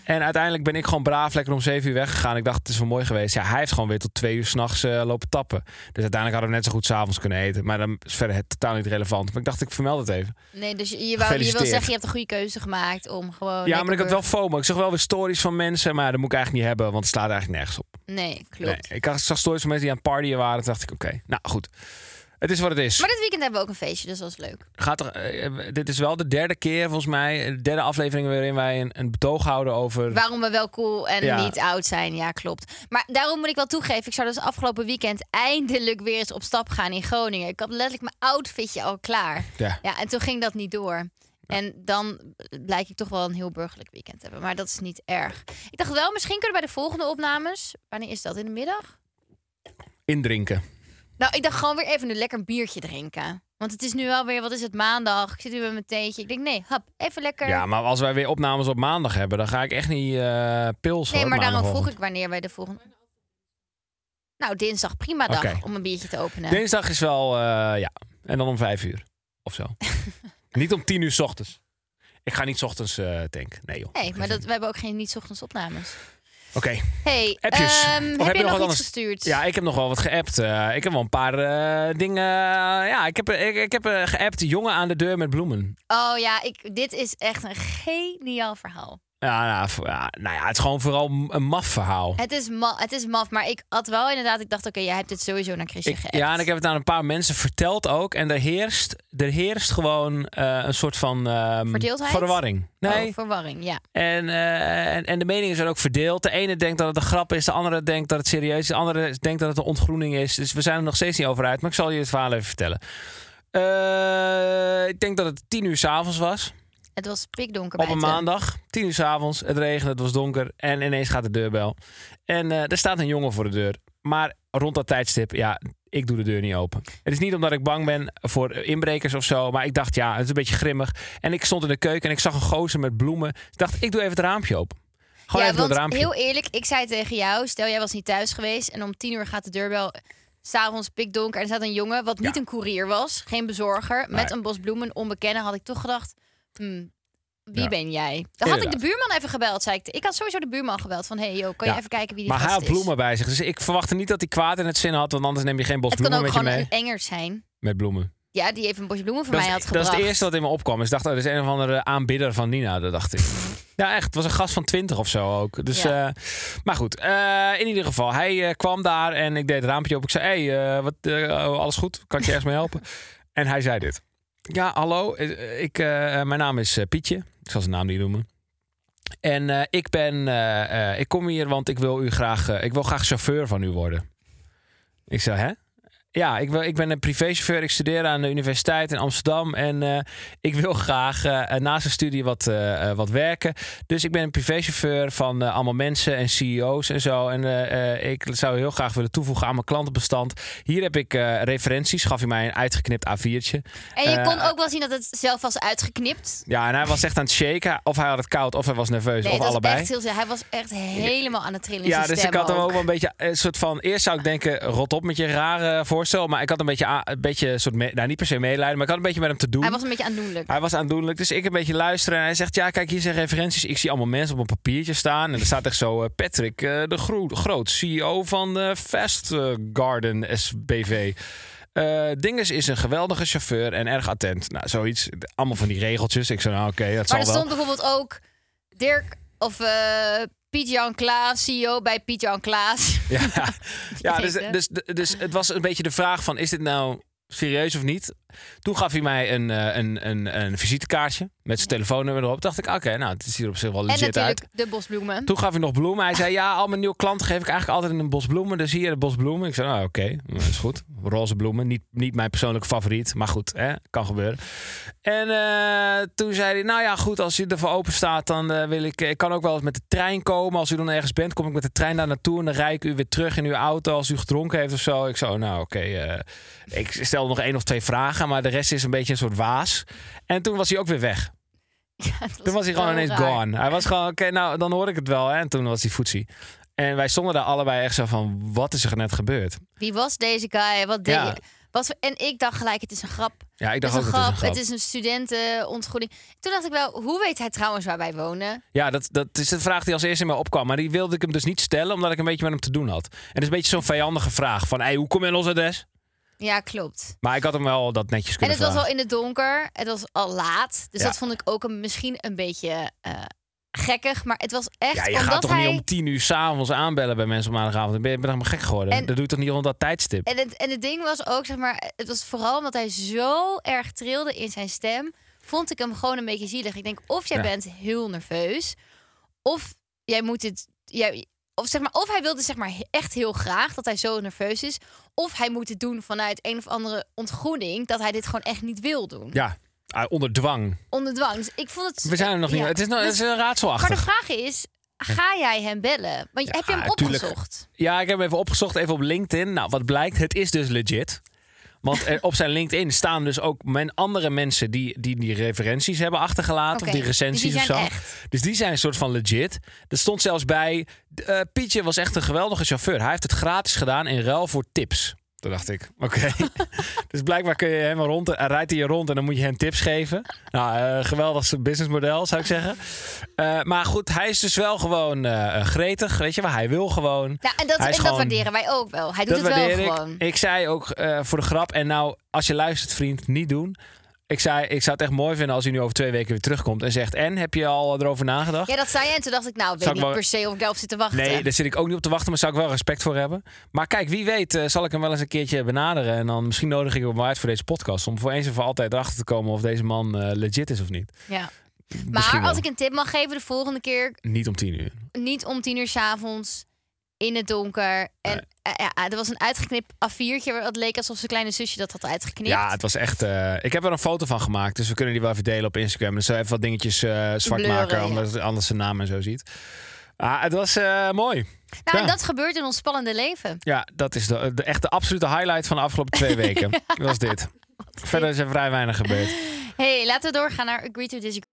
[SPEAKER 2] En uiteindelijk ben ik gewoon braaf lekker om zeven uur weggegaan. Ik dacht, het is wel mooi geweest. Ja, hij heeft gewoon weer tot twee uur s'nachts eh lopen tappen. Dus uiteindelijk hadden we net zo goed s'avonds kunnen eten. Maar dan is verder het totaal niet relevant. Maar ik dacht, ik vermeld het even.
[SPEAKER 1] Nee, dus je, je, wou, je wil
[SPEAKER 2] Gefeliciteerd.
[SPEAKER 1] zeggen, je hebt een goede keuze gemaakt om gewoon.
[SPEAKER 2] Ja, maar ik
[SPEAKER 1] Oh, lekker
[SPEAKER 2] had wel FOMO. Ik zag wel weer stories van mensen, maar dat moet ik eigenlijk niet hebben, want het slaat eigenlijk nergens op.
[SPEAKER 1] burger- Nee, klopt.
[SPEAKER 2] Nee, ik had- zag stories van mensen die aan het partyen waren, toen dacht ik, oké, nou goed. Het is wat het is.
[SPEAKER 1] Maar dit weekend hebben we ook een feestje, dus dat is leuk.
[SPEAKER 2] Gaat er, eh, dit is wel de derde keer, volgens mij, eh, de derde aflevering waarin wij een, een betoog houden over...
[SPEAKER 1] Waarom we wel cool en
[SPEAKER 2] Ja.
[SPEAKER 1] niet oud zijn, ja, klopt. Maar daarom moet ik wel toegeven, ik zou dus afgelopen weekend eindelijk weer eens op stap gaan in Groningen. Ik had letterlijk mijn outfitje al klaar.
[SPEAKER 2] Ja.
[SPEAKER 1] Ja, en toen ging dat niet door. En dan blijk ik toch wel een heel burgerlijk weekend te hebben. Maar dat is niet erg. Ik dacht wel, misschien kunnen we bij de volgende opnames. Wanneer is dat? In de middag?
[SPEAKER 2] Indrinken.
[SPEAKER 1] Nou, ik dacht gewoon weer even een lekker biertje drinken. Want het is nu wel weer, wat is het, maandag. Ik zit weer met mijn theetje. Ik denk, nee, hap, even lekker.
[SPEAKER 2] Ja, maar als wij weer opnames op maandag hebben, dan ga ik echt niet eh pils
[SPEAKER 1] nee,
[SPEAKER 2] hoor,
[SPEAKER 1] maar daarom vroeg
[SPEAKER 2] maandagochtend.
[SPEAKER 1] ik wanneer wij de volgende... Nou, dinsdag, prima dag
[SPEAKER 2] Oké.
[SPEAKER 1] om een biertje te openen.
[SPEAKER 2] Dinsdag is wel, eh, ja, en dan om vijf uur of zo. niet om tien uur 's ochtends. Ik ga niet 's ochtends eh tanken. Nee joh.
[SPEAKER 1] Nee, maar dat, we hebben ook geen niet-ochtends opnames.
[SPEAKER 2] Oké.
[SPEAKER 1] hey,
[SPEAKER 2] Appjes.
[SPEAKER 1] ehm,
[SPEAKER 2] Of
[SPEAKER 1] heb,
[SPEAKER 2] heb
[SPEAKER 1] je nog,
[SPEAKER 2] wat
[SPEAKER 1] iets
[SPEAKER 2] anders?
[SPEAKER 1] gestuurd?
[SPEAKER 2] Ja, ik heb nog wel wat geappt. Eh, ik heb wel een paar eh, dingen. ja, ik heb, ik, ik heb eh, geappt. Jongen aan de deur met bloemen.
[SPEAKER 1] Oh ja, ik, dit is echt een geniaal verhaal.
[SPEAKER 2] Ja, nou, v- ja, nou ja, het is gewoon vooral m- een maf verhaal.
[SPEAKER 1] Het is, ma- het is maf, maar ik had wel inderdaad... Ik dacht, oké, jij hebt dit sowieso naar Chrisje
[SPEAKER 2] Ik,
[SPEAKER 1] geappt.
[SPEAKER 2] ja, en ik heb het aan een paar mensen verteld ook. En er heerst, er heerst gewoon eh, een soort van ehm,
[SPEAKER 1] Verdeeldheid?
[SPEAKER 2] verwarring. Nee,
[SPEAKER 1] Oh, verwarring, ja.
[SPEAKER 2] En, eh, en, en de meningen zijn ook verdeeld. De ene denkt dat het een grap is, de andere denkt dat het serieus is, de andere denkt dat het een ontgroening is. Dus we zijn er nog steeds niet over uit, maar ik zal je het verhaal even vertellen. Eh, ik denk dat het tien uur s'avonds was,
[SPEAKER 1] Het eh, was pikdonker
[SPEAKER 2] op een
[SPEAKER 1] buiten.
[SPEAKER 2] maandag. Tien uur s'avonds, het regende, het was donker en ineens gaat de deurbel. En eh, er staat een jongen voor de deur. Maar rond dat tijdstip, ja, ik doe de deur niet open. Het is niet omdat ik bang ben voor inbrekers of zo, maar ik dacht, ja, het is een beetje grimmig. En ik stond in de keuken en ik zag een gozer met bloemen. Ik dacht, ik doe even het raampje open. Gewoon
[SPEAKER 1] ja,
[SPEAKER 2] even door het
[SPEAKER 1] want
[SPEAKER 2] raampje.
[SPEAKER 1] heel eerlijk, ik zei tegen jou, stel jij was niet thuis geweest en om tien uur gaat de deurbel. S'avonds pikdonker en er staat een jongen, wat niet
[SPEAKER 2] Ja.
[SPEAKER 1] een koerier was, geen bezorger,
[SPEAKER 2] Nee.
[SPEAKER 1] met een bos bloemen, een onbekende, had ik toch gedacht, hmm, wie
[SPEAKER 2] Ja.
[SPEAKER 1] ben jij? Dan had ik de
[SPEAKER 2] Inderdaad.
[SPEAKER 1] buurman even gebeld, zei ik. Ik had sowieso de buurman gebeld van, hey, joh, kan
[SPEAKER 2] Ja.
[SPEAKER 1] je even kijken wie die
[SPEAKER 2] Maar hij
[SPEAKER 1] gast
[SPEAKER 2] had
[SPEAKER 1] is?
[SPEAKER 2] bloemen bij zich. Dus ik verwachtte niet dat hij kwaad in het zin had. Want anders neem je geen bos
[SPEAKER 1] Het kan
[SPEAKER 2] bloemen
[SPEAKER 1] ook
[SPEAKER 2] met je
[SPEAKER 1] gewoon
[SPEAKER 2] mee.
[SPEAKER 1] een enger zijn.
[SPEAKER 2] Met bloemen.
[SPEAKER 1] Ja, die even een bos bloemen voor
[SPEAKER 2] Dat,
[SPEAKER 1] mij
[SPEAKER 2] is- e-,
[SPEAKER 1] had
[SPEAKER 2] dat
[SPEAKER 1] gebracht.
[SPEAKER 2] is het eerste wat in me opkwam. Dus ik dacht, oh, dat is een of andere aanbidder van Nina. Dat dacht ik. Ja, echt. Het was een gast van 20 of zo ook. Dus,
[SPEAKER 1] Ja.
[SPEAKER 2] eh, maar goed, eh, in ieder geval. Hij eh, kwam daar en ik deed het raampje op. Ik zei, hey, eh, wat, eh, oh, alles goed? Kan ik je ergens mee helpen? en hij zei dit. Ja, hallo. eh, Ik, eh, mijn naam is eh, Pietje. Ik zal zijn naam niet noemen. En eh, ik ben, eh, eh, ik kom hier, want ik wil u graag, eh, ik wil graag chauffeur van u worden. Ik zei, hè? Ja, ik, wil, ik ben een privéchauffeur. Ik studeer aan de universiteit in Amsterdam. En eh, ik wil graag eh, naast de studie wat, eh, eh, wat werken. Dus ik ben een privéchauffeur van eh, allemaal mensen en CEO's en zo. En eh, eh, ik zou heel graag willen toevoegen aan mijn klantenbestand. Hier heb ik eh, referenties. Gaf hij mij een uitgeknipt A4'tje.
[SPEAKER 1] En je
[SPEAKER 2] Eh,
[SPEAKER 1] kon ook wel zien dat het zelf was uitgeknipt.
[SPEAKER 2] Ja, en hij was echt aan het shaken. Of hij had het koud, of hij was nerveus,
[SPEAKER 1] Nee,
[SPEAKER 2] of
[SPEAKER 1] dat
[SPEAKER 2] allebei.
[SPEAKER 1] was echt heel zin. Hij was echt helemaal aan het trillen. in
[SPEAKER 2] Ja,
[SPEAKER 1] zijn
[SPEAKER 2] dus ik
[SPEAKER 1] stem
[SPEAKER 2] had hem
[SPEAKER 1] ook.
[SPEAKER 2] ook wel een beetje een soort van. Eerst zou ik denken, rot op met je rare voorstel. Maar ik had een beetje, a- een beetje een soort, me- nou niet per se meelijden, maar ik had een beetje met hem te doen.
[SPEAKER 1] Hij was een beetje aandoenlijk.
[SPEAKER 2] Hij was aandoenlijk, dus ik een beetje luisteren. En hij zegt, ja, kijk, hier zijn referenties. Ik zie allemaal mensen op een papiertje staan. En er staat echt zo, eh, Patrick eh, de Groot, Groot, CEO van eh, Fast eh, Garden SBV. Eh Dinges is een geweldige chauffeur en erg attent. Nou, zoiets. Allemaal van die regeltjes. Ik zei, nou oké, dat
[SPEAKER 1] Maar
[SPEAKER 2] zal
[SPEAKER 1] er
[SPEAKER 2] wel.
[SPEAKER 1] stond bijvoorbeeld ook Dirk of eh Piet-Jan Klaas, CEO bij Piet-Jan Klaas.
[SPEAKER 2] Ja, ja dus,
[SPEAKER 1] Zeker.
[SPEAKER 2] dus, dus het was een beetje de vraag van... is dit nou serieus of niet? Toen gaf hij mij een, eh, een, een, een visitekaartje met zijn telefoonnummer erop. dacht ik, oké, nou, het is hier op zich wel
[SPEAKER 1] en
[SPEAKER 2] legit
[SPEAKER 1] natuurlijk
[SPEAKER 2] uit.
[SPEAKER 1] de bosbloemen.
[SPEAKER 2] Toen gaf hij nog bloemen. Hij zei, ja, al mijn nieuwe klanten geef ik eigenlijk altijd een bos bloemen. Dus hier een bos bloemen. Ik zei, nou, oké, dat is goed. Roze bloemen. Niet, niet mijn persoonlijke favoriet, maar goed, hè, kan gebeuren. En eh, toen zei hij, nou ja, goed, als u ervoor open staat, dan eh, wil ik... Ik kan ook wel eens met de trein komen. Als u dan ergens bent, kom ik met de trein daar naartoe. En dan rijd ik u weer terug in uw auto als u gedronken heeft of zo. Ik zo, nou, oké. eh, ik stel nog één of twee vragen, maar de rest is een beetje een soort waas. En toen was hij ook weer weg. Toen was hij gewoon
[SPEAKER 1] heel
[SPEAKER 2] ineens
[SPEAKER 1] raar.
[SPEAKER 2] gone. Hij was gewoon, oké, nou, dan hoor ik het wel. Hè? En toen was hij foetsie. En wij stonden daar allebei echt zo van, wat is er net gebeurd?
[SPEAKER 1] Wie was deze guy? Wat deed
[SPEAKER 2] Ja.
[SPEAKER 1] je? Wat voor- en ik dacht gelijk, het is een grap.
[SPEAKER 2] Ja, ik
[SPEAKER 1] Het
[SPEAKER 2] dacht
[SPEAKER 1] is een
[SPEAKER 2] ook,
[SPEAKER 1] grap.
[SPEAKER 2] het is een grap.
[SPEAKER 1] Het is een studentenontgoeding. Toen dacht ik wel, hoe weet hij trouwens waar wij wonen?
[SPEAKER 2] Ja, dat, dat is de vraag die als eerste in mij opkwam. Maar die wilde ik hem dus niet stellen, omdat ik een beetje met hem te doen had. En dat is een beetje zo'n vijandige vraag. Van, hey, hoe kom je in ons adres?
[SPEAKER 1] Ja, klopt.
[SPEAKER 2] Maar ik had hem wel dat netjes
[SPEAKER 1] En
[SPEAKER 2] kunnen
[SPEAKER 1] het was al
[SPEAKER 2] vragen.
[SPEAKER 1] in het donker. Het was al laat. Dus
[SPEAKER 2] Ja.
[SPEAKER 1] dat vond ik ook een, misschien een beetje eh, gekkig. Maar het was echt
[SPEAKER 2] ja, je
[SPEAKER 1] omdat
[SPEAKER 2] gaat toch
[SPEAKER 1] hij...
[SPEAKER 2] niet om tien uur s'avonds aanbellen bij mensen op maandagavond? Dan ben je ben je helemaal gek geworden.
[SPEAKER 1] En-
[SPEAKER 2] Dat doe je toch niet rond dat tijdstip?
[SPEAKER 1] En het, en het ding was ook, zeg maar, het was vooral omdat hij zo erg trilde in zijn stem, vond ik hem gewoon een beetje zielig. Ik denk, of jij
[SPEAKER 2] Ja.
[SPEAKER 1] bent heel nerveus, of jij moet dit, jij, of zeg maar, of hij wilde zeg maar he- echt heel graag dat hij zo nerveus is, of hij moet het doen vanuit een of andere ontgroening dat hij dit gewoon echt niet wil doen.
[SPEAKER 2] Ja, ah, onder dwang.
[SPEAKER 1] Onder dwang. Dus ik vond het.
[SPEAKER 2] We zijn er nog niet.
[SPEAKER 1] ja.
[SPEAKER 2] Het, is nog, het
[SPEAKER 1] Dus-
[SPEAKER 2] is een
[SPEAKER 1] maar de
[SPEAKER 2] raadselachtig.
[SPEAKER 1] vraag is, ga jij hem bellen? Want
[SPEAKER 2] Ja,
[SPEAKER 1] heb je hem
[SPEAKER 2] tuurlijk.
[SPEAKER 1] opgezocht?
[SPEAKER 2] Ja, ik heb hem even opgezocht, even op LinkedIn. Nou, wat blijkt, het is dus legit. Want er, op zijn LinkedIn staan dus ook men, andere mensen die, die die referenties hebben achtergelaten.
[SPEAKER 1] Oké,
[SPEAKER 2] Of die recensies
[SPEAKER 1] dus die zijn
[SPEAKER 2] of zo.
[SPEAKER 1] echt.
[SPEAKER 2] Dus die zijn een soort van legit. Er stond zelfs bij, eh, Pietje was echt een geweldige chauffeur. Hij heeft het gratis gedaan in ruil voor tips. Toen dacht ik, oké. dus blijkbaar kun je hem rond, eh, rijdt hij je rond en dan moet je hem tips geven. Nou, eh, geweldig businessmodel zou ik zeggen. Eh, maar goed, hij is dus wel gewoon eh, eh, gretig, weet je wel. Hij wil gewoon.
[SPEAKER 1] Nou, en dat, en
[SPEAKER 2] Hij is
[SPEAKER 1] dat
[SPEAKER 2] gewoon-
[SPEAKER 1] waarderen wij ook wel. Hij doet
[SPEAKER 2] dat
[SPEAKER 1] het wel
[SPEAKER 2] waardeer ik.
[SPEAKER 1] gewoon.
[SPEAKER 2] Ik zei ook eh, voor de grap, en nou, als je luistert, vriend, niet doen. Ik zei, ik zou het echt mooi vinden als hij nu over twee weken weer terugkomt en zegt: En heb je al erover nagedacht?
[SPEAKER 1] Ja, dat zei je. En toen dacht ik, nou, weet
[SPEAKER 2] Zou ik
[SPEAKER 1] niet
[SPEAKER 2] wel-
[SPEAKER 1] per se of ik daarop zit te wachten.
[SPEAKER 2] Nee, daar zit ik ook niet op te wachten, maar zou ik wel respect voor hebben. Maar kijk, wie weet, eh, zal ik hem wel eens een keertje benaderen. En dan misschien nodig ik hem wel uit voor deze podcast. Om voor eens en voor altijd erachter te komen of deze man eh, legit is of niet.
[SPEAKER 1] ja.
[SPEAKER 2] Misschien wel.
[SPEAKER 1] Maar als ik een tip mag geven, de volgende keer
[SPEAKER 2] Niet om tien uur.
[SPEAKER 1] niet om tien uur s'avonds in het donker. En eh, ja, er was een uitgeknipt A4'tje. waar Het leek alsof zijn kleine zusje dat had uitgeknipt.
[SPEAKER 2] Ja, het was echt. eh, ik heb er een foto van gemaakt, dus we kunnen die wel even delen op Instagram. Dus zo even wat dingetjes eh, zwart
[SPEAKER 1] Blurren,
[SPEAKER 2] maken,
[SPEAKER 1] ja.
[SPEAKER 2] omdat het anders zijn naam en zo ziet. Ah, het was eh, mooi.
[SPEAKER 1] nou, en
[SPEAKER 2] ja.
[SPEAKER 1] dat gebeurt in ons spannende leven.
[SPEAKER 2] Ja, dat is de, de, echt de absolute highlight van de afgelopen twee weken. Was dit. Verder is er vrij weinig gebeurd.
[SPEAKER 1] hey, laten we doorgaan naar Agree to Disagree.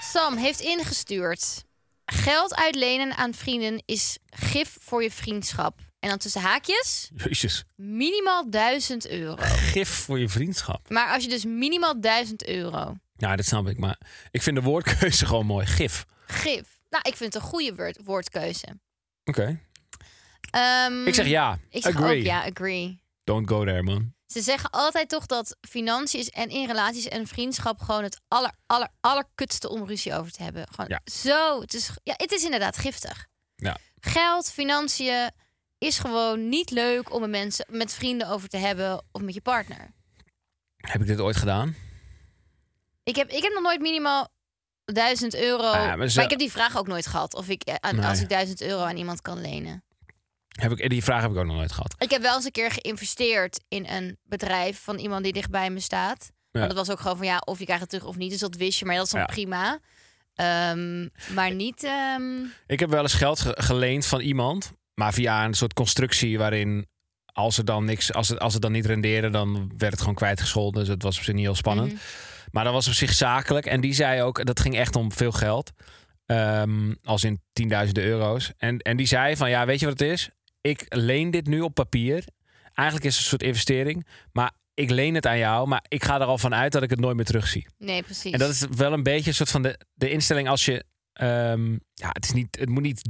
[SPEAKER 1] Sam heeft ingestuurd. Geld uitlenen aan vrienden is gif voor je vriendschap. En dan tussen haakjes,
[SPEAKER 2] Jezus,
[SPEAKER 1] minimaal 1000 euro.
[SPEAKER 2] gif voor je vriendschap.
[SPEAKER 1] Maar als je dus minimaal 1000 euro
[SPEAKER 2] Ja, dat snap ik. Maar ik vind de woordkeuze gewoon mooi. Gif.
[SPEAKER 1] Gif. Nou, ik vind het een goede woord, woordkeuze.
[SPEAKER 2] Oké.
[SPEAKER 1] Ehm,
[SPEAKER 2] Ik zeg ja.
[SPEAKER 1] Ik zeg
[SPEAKER 2] Agree.
[SPEAKER 1] ook ja, agree.
[SPEAKER 2] Don't go there, man.
[SPEAKER 1] Ze zeggen altijd toch dat financiën en in relaties en vriendschap gewoon het aller, aller, allerkutste om ruzie over te hebben. Gewoon
[SPEAKER 2] Ja.
[SPEAKER 1] zo. Het is, ja, het is inderdaad giftig.
[SPEAKER 2] Ja.
[SPEAKER 1] Geld, financiën is gewoon niet leuk om met mensen, met vrienden over te hebben of met je partner.
[SPEAKER 2] Heb ik dit ooit gedaan?
[SPEAKER 1] Ik heb, ik heb nog nooit minimaal 1000 euro.
[SPEAKER 2] Ah, maar
[SPEAKER 1] maar,
[SPEAKER 2] zo-
[SPEAKER 1] ik heb die vraag ook nooit gehad. Of ik, eh, aan-
[SPEAKER 2] Nee.
[SPEAKER 1] als ik 1000 euro aan iemand kan lenen.
[SPEAKER 2] Heb ik, die vraag heb ik ook nog nooit gehad.
[SPEAKER 1] Ik heb wel eens een keer geïnvesteerd in een bedrijf van iemand die dichtbij me staat.
[SPEAKER 2] Ja.
[SPEAKER 1] Maar dat was ook gewoon van ja, of je krijgt het terug of niet. Dus dat wist je, maar dat is dan
[SPEAKER 2] Ja.
[SPEAKER 1] prima. Ehm, maar niet. ehm,
[SPEAKER 2] Ik heb wel eens geld ge- geleend van iemand, maar via een soort constructie waarin als het dan niks, als het, als het dan niet rendeerde, dan werd het gewoon kwijtgescholden. Dus het was op zich niet heel spannend.
[SPEAKER 1] Mhm.
[SPEAKER 2] Maar dat was op zich zakelijk. En die zei ook, dat ging echt om veel geld. Ehm, als in tienduizenden euro's. En, en die zei van, ja, weet je wat het is? Ik leen dit nu op papier. Eigenlijk is het een soort investering. Maar ik leen het aan jou. Maar ik ga er al van uit dat ik het nooit meer terugzie.
[SPEAKER 1] nee, precies.
[SPEAKER 2] En dat is wel een beetje een soort van de, de instelling als je. ehm, ja, het, is niet, het moet niet.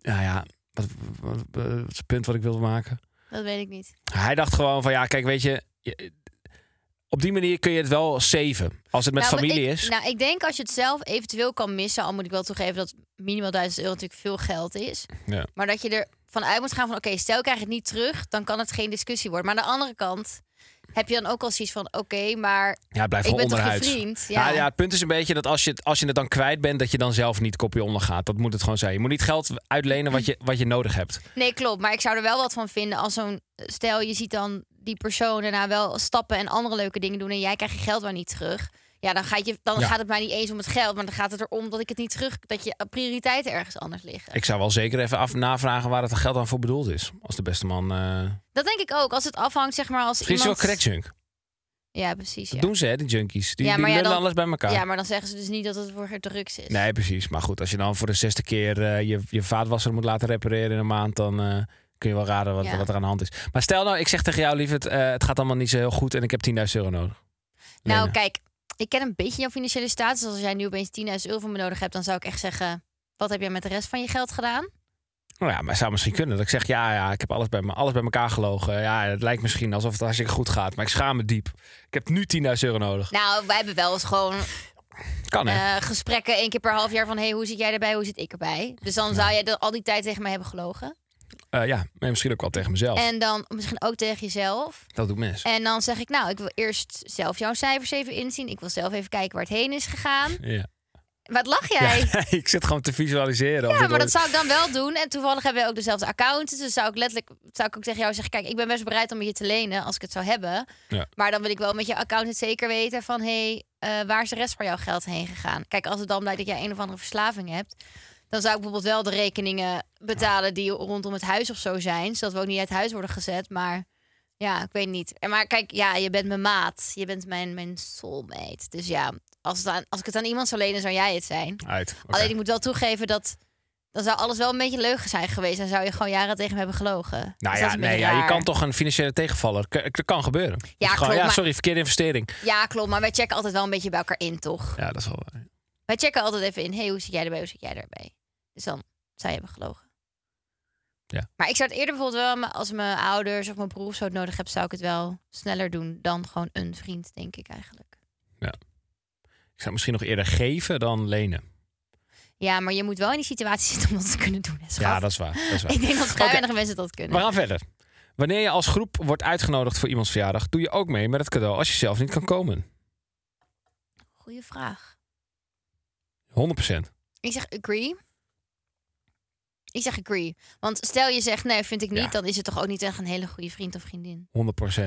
[SPEAKER 2] Nou ja, wat, wat, wat is het punt wat ik wilde maken?
[SPEAKER 1] Dat weet ik niet.
[SPEAKER 2] Hij dacht gewoon van ja, kijk, weet je. je- op die manier kun je het wel saven. Als het met
[SPEAKER 1] Nou, maar
[SPEAKER 2] familie
[SPEAKER 1] ik-
[SPEAKER 2] is.
[SPEAKER 1] Nou, ik denk als je het zelf eventueel kan missen, al moet ik wel toegeven dat minimaal 1000 euro natuurlijk veel geld is.
[SPEAKER 2] Ja.
[SPEAKER 1] Maar dat je er vanuit moet gaan van oké, stel ik krijg het niet terug, dan kan het geen discussie worden. Maar aan de andere kant heb je dan ook al zoiets van oké, maar
[SPEAKER 2] ja, het blijft
[SPEAKER 1] ik
[SPEAKER 2] gewoon
[SPEAKER 1] ben toch
[SPEAKER 2] onderhuids.
[SPEAKER 1] gevriend?
[SPEAKER 2] Ja.
[SPEAKER 1] Ja.
[SPEAKER 2] ja, het punt is een beetje dat als je, het, als je het dan kwijt bent, dat je dan zelf niet kopje onder gaat. Dat moet het gewoon zijn. Je moet niet geld uitlenen wat je, wat je nodig hebt.
[SPEAKER 1] Nee, klopt. Maar ik zou er wel wat van vinden als zo'n... Stel, je ziet dan die persoon daarna wel stappen en andere leuke dingen doen... en jij krijgt je geld maar niet terug. Ja, dan, gaat, je, dan
[SPEAKER 2] Ja.
[SPEAKER 1] gaat het mij niet eens om het geld... maar dan gaat het erom dat ik het niet terug... dat je prioriteiten ergens anders liggen.
[SPEAKER 2] Ik zou wel zeker even af, navragen waar het geld aan voor bedoeld is. Als de beste man. eh
[SPEAKER 1] Dat denk ik ook. Als het afhangt, zeg maar, als
[SPEAKER 2] Misschien is het
[SPEAKER 1] iemand...
[SPEAKER 2] wel crack junk.
[SPEAKER 1] Ja, precies.
[SPEAKER 2] Dat
[SPEAKER 1] Ja.
[SPEAKER 2] doen ze, hè, die junkies. Die,
[SPEAKER 1] Ja,
[SPEAKER 2] die
[SPEAKER 1] maar ja,
[SPEAKER 2] lullen
[SPEAKER 1] dan-
[SPEAKER 2] alles bij elkaar.
[SPEAKER 1] ja, maar dan zeggen ze dus niet dat het voor drugs is.
[SPEAKER 2] Nee, precies. Maar goed, als je dan voor de zesde keer eh, je, je vaatwasser moet laten repareren in een maand, dan eh, kun je wel raden wat,
[SPEAKER 1] Ja.
[SPEAKER 2] wat er aan de hand is. Maar stel nou, ik zeg tegen jou, lieverd, eh, het gaat allemaal niet zo heel goed en ik heb 10.000 euro nodig.
[SPEAKER 1] nou,
[SPEAKER 2] Lena.
[SPEAKER 1] kijk, ik ken een beetje jouw financiële status. Als jij nu opeens 10.000 euro van me nodig hebt... dan zou ik echt zeggen... wat heb jij met de rest van je geld gedaan?
[SPEAKER 2] Nou ja, maar het zou misschien kunnen. Dat ik zeg, ja, ja, ik heb alles bij, me, alles bij elkaar gelogen. Ja, het lijkt misschien alsof het hartstikke goed gaat, maar ik schaam me diep. Ik heb nu 10.000 euro nodig.
[SPEAKER 1] Nou, wij hebben wel eens gewoon
[SPEAKER 2] Kan hè?
[SPEAKER 1] eh, gesprekken één keer per half jaar van... hey, hoe zit jij erbij, hoe zit ik erbij? Dus dan zou jij de- al die tijd tegen mij hebben gelogen.
[SPEAKER 2] Eh, ja, maar misschien ook wel tegen mezelf.
[SPEAKER 1] En dan misschien ook tegen jezelf.
[SPEAKER 2] dat doet mensen.
[SPEAKER 1] En dan zeg ik, nou, ik wil eerst zelf jouw cijfers even inzien. Ik wil zelf even kijken waar het heen is gegaan.
[SPEAKER 2] Ja.
[SPEAKER 1] Wat lach jij? Ja.
[SPEAKER 2] Ja, ik zit gewoon te visualiseren. of dit
[SPEAKER 1] maar
[SPEAKER 2] ooit-
[SPEAKER 1] dat zou ik dan wel doen. En toevallig hebben we ook dezelfde accounts. Dus zou ik letterlijk zou ik ook tegen jou zeggen: Kijk, ik ben best bereid om je te lenen als ik het zou hebben.
[SPEAKER 2] Ja.
[SPEAKER 1] Maar dan wil ik wel met je accountant zeker weten van... hé, hey, eh, waar is de rest van jouw geld heen gegaan? Kijk, als het dan blijkt dat jij een of andere verslaving hebt... dan zou ik bijvoorbeeld wel de rekeningen betalen die rondom het huis of zo zijn... zodat we ook niet uit huis worden gezet, maar... Ja, ik weet niet. En Maar kijk, ja, je bent mijn maat. Je bent mijn, mijn soulmate. Dus ja, als, het aan- als ik het aan iemand zou lenen, zou jij het zijn.
[SPEAKER 2] Uit. Oké.
[SPEAKER 1] Alleen ik moet wel toegeven dat... dan zou alles wel een beetje leugen zijn geweest... en zou je gewoon jaren tegen me hebben gelogen.
[SPEAKER 2] Nou
[SPEAKER 1] Dus dat
[SPEAKER 2] ja,
[SPEAKER 1] is een beetje
[SPEAKER 2] nee, ja, je
[SPEAKER 1] raar.
[SPEAKER 2] kan toch een financiële tegenvaller. K- Dat kan gebeuren. Dat je gewoon,
[SPEAKER 1] klopt,
[SPEAKER 2] ja
[SPEAKER 1] maar-
[SPEAKER 2] sorry, verkeerde investering.
[SPEAKER 1] Ja, klopt. Maar wij checken altijd wel een beetje bij elkaar in, toch?
[SPEAKER 2] Ja, dat is wel waar.
[SPEAKER 1] Wij checken altijd even in. hey, hoe zit jij erbij? Hoe zit jij erbij? Dus dan zou je hebben gelogen.
[SPEAKER 2] Ja.
[SPEAKER 1] Maar ik zou het eerder bijvoorbeeld wel... maar als mijn ouders of mijn broer of zo het nodig hebben... zou ik het wel sneller doen dan gewoon een vriend, denk ik eigenlijk.
[SPEAKER 2] Ik zou het misschien nog eerder geven dan lenen.
[SPEAKER 1] Ja, maar je moet wel in die situatie zitten om dat te kunnen doen, hè, schat.
[SPEAKER 2] Ja, dat is waar. Dat is waar.
[SPEAKER 1] Ik denk dat vrij
[SPEAKER 2] Oké.
[SPEAKER 1] weinig mensen dat kunnen.
[SPEAKER 2] We gaan verder. Wanneer je als groep wordt uitgenodigd voor iemands verjaardag, doe je ook mee met het cadeau als je zelf niet kan komen.
[SPEAKER 1] Goeie vraag.
[SPEAKER 2] 100%.
[SPEAKER 1] Ik zeg agree. Ik zeg agree. Want stel je zegt nee, vind ik niet,
[SPEAKER 2] Ja.
[SPEAKER 1] dan is het toch ook niet echt een hele goede vriend of vriendin.
[SPEAKER 2] 100%.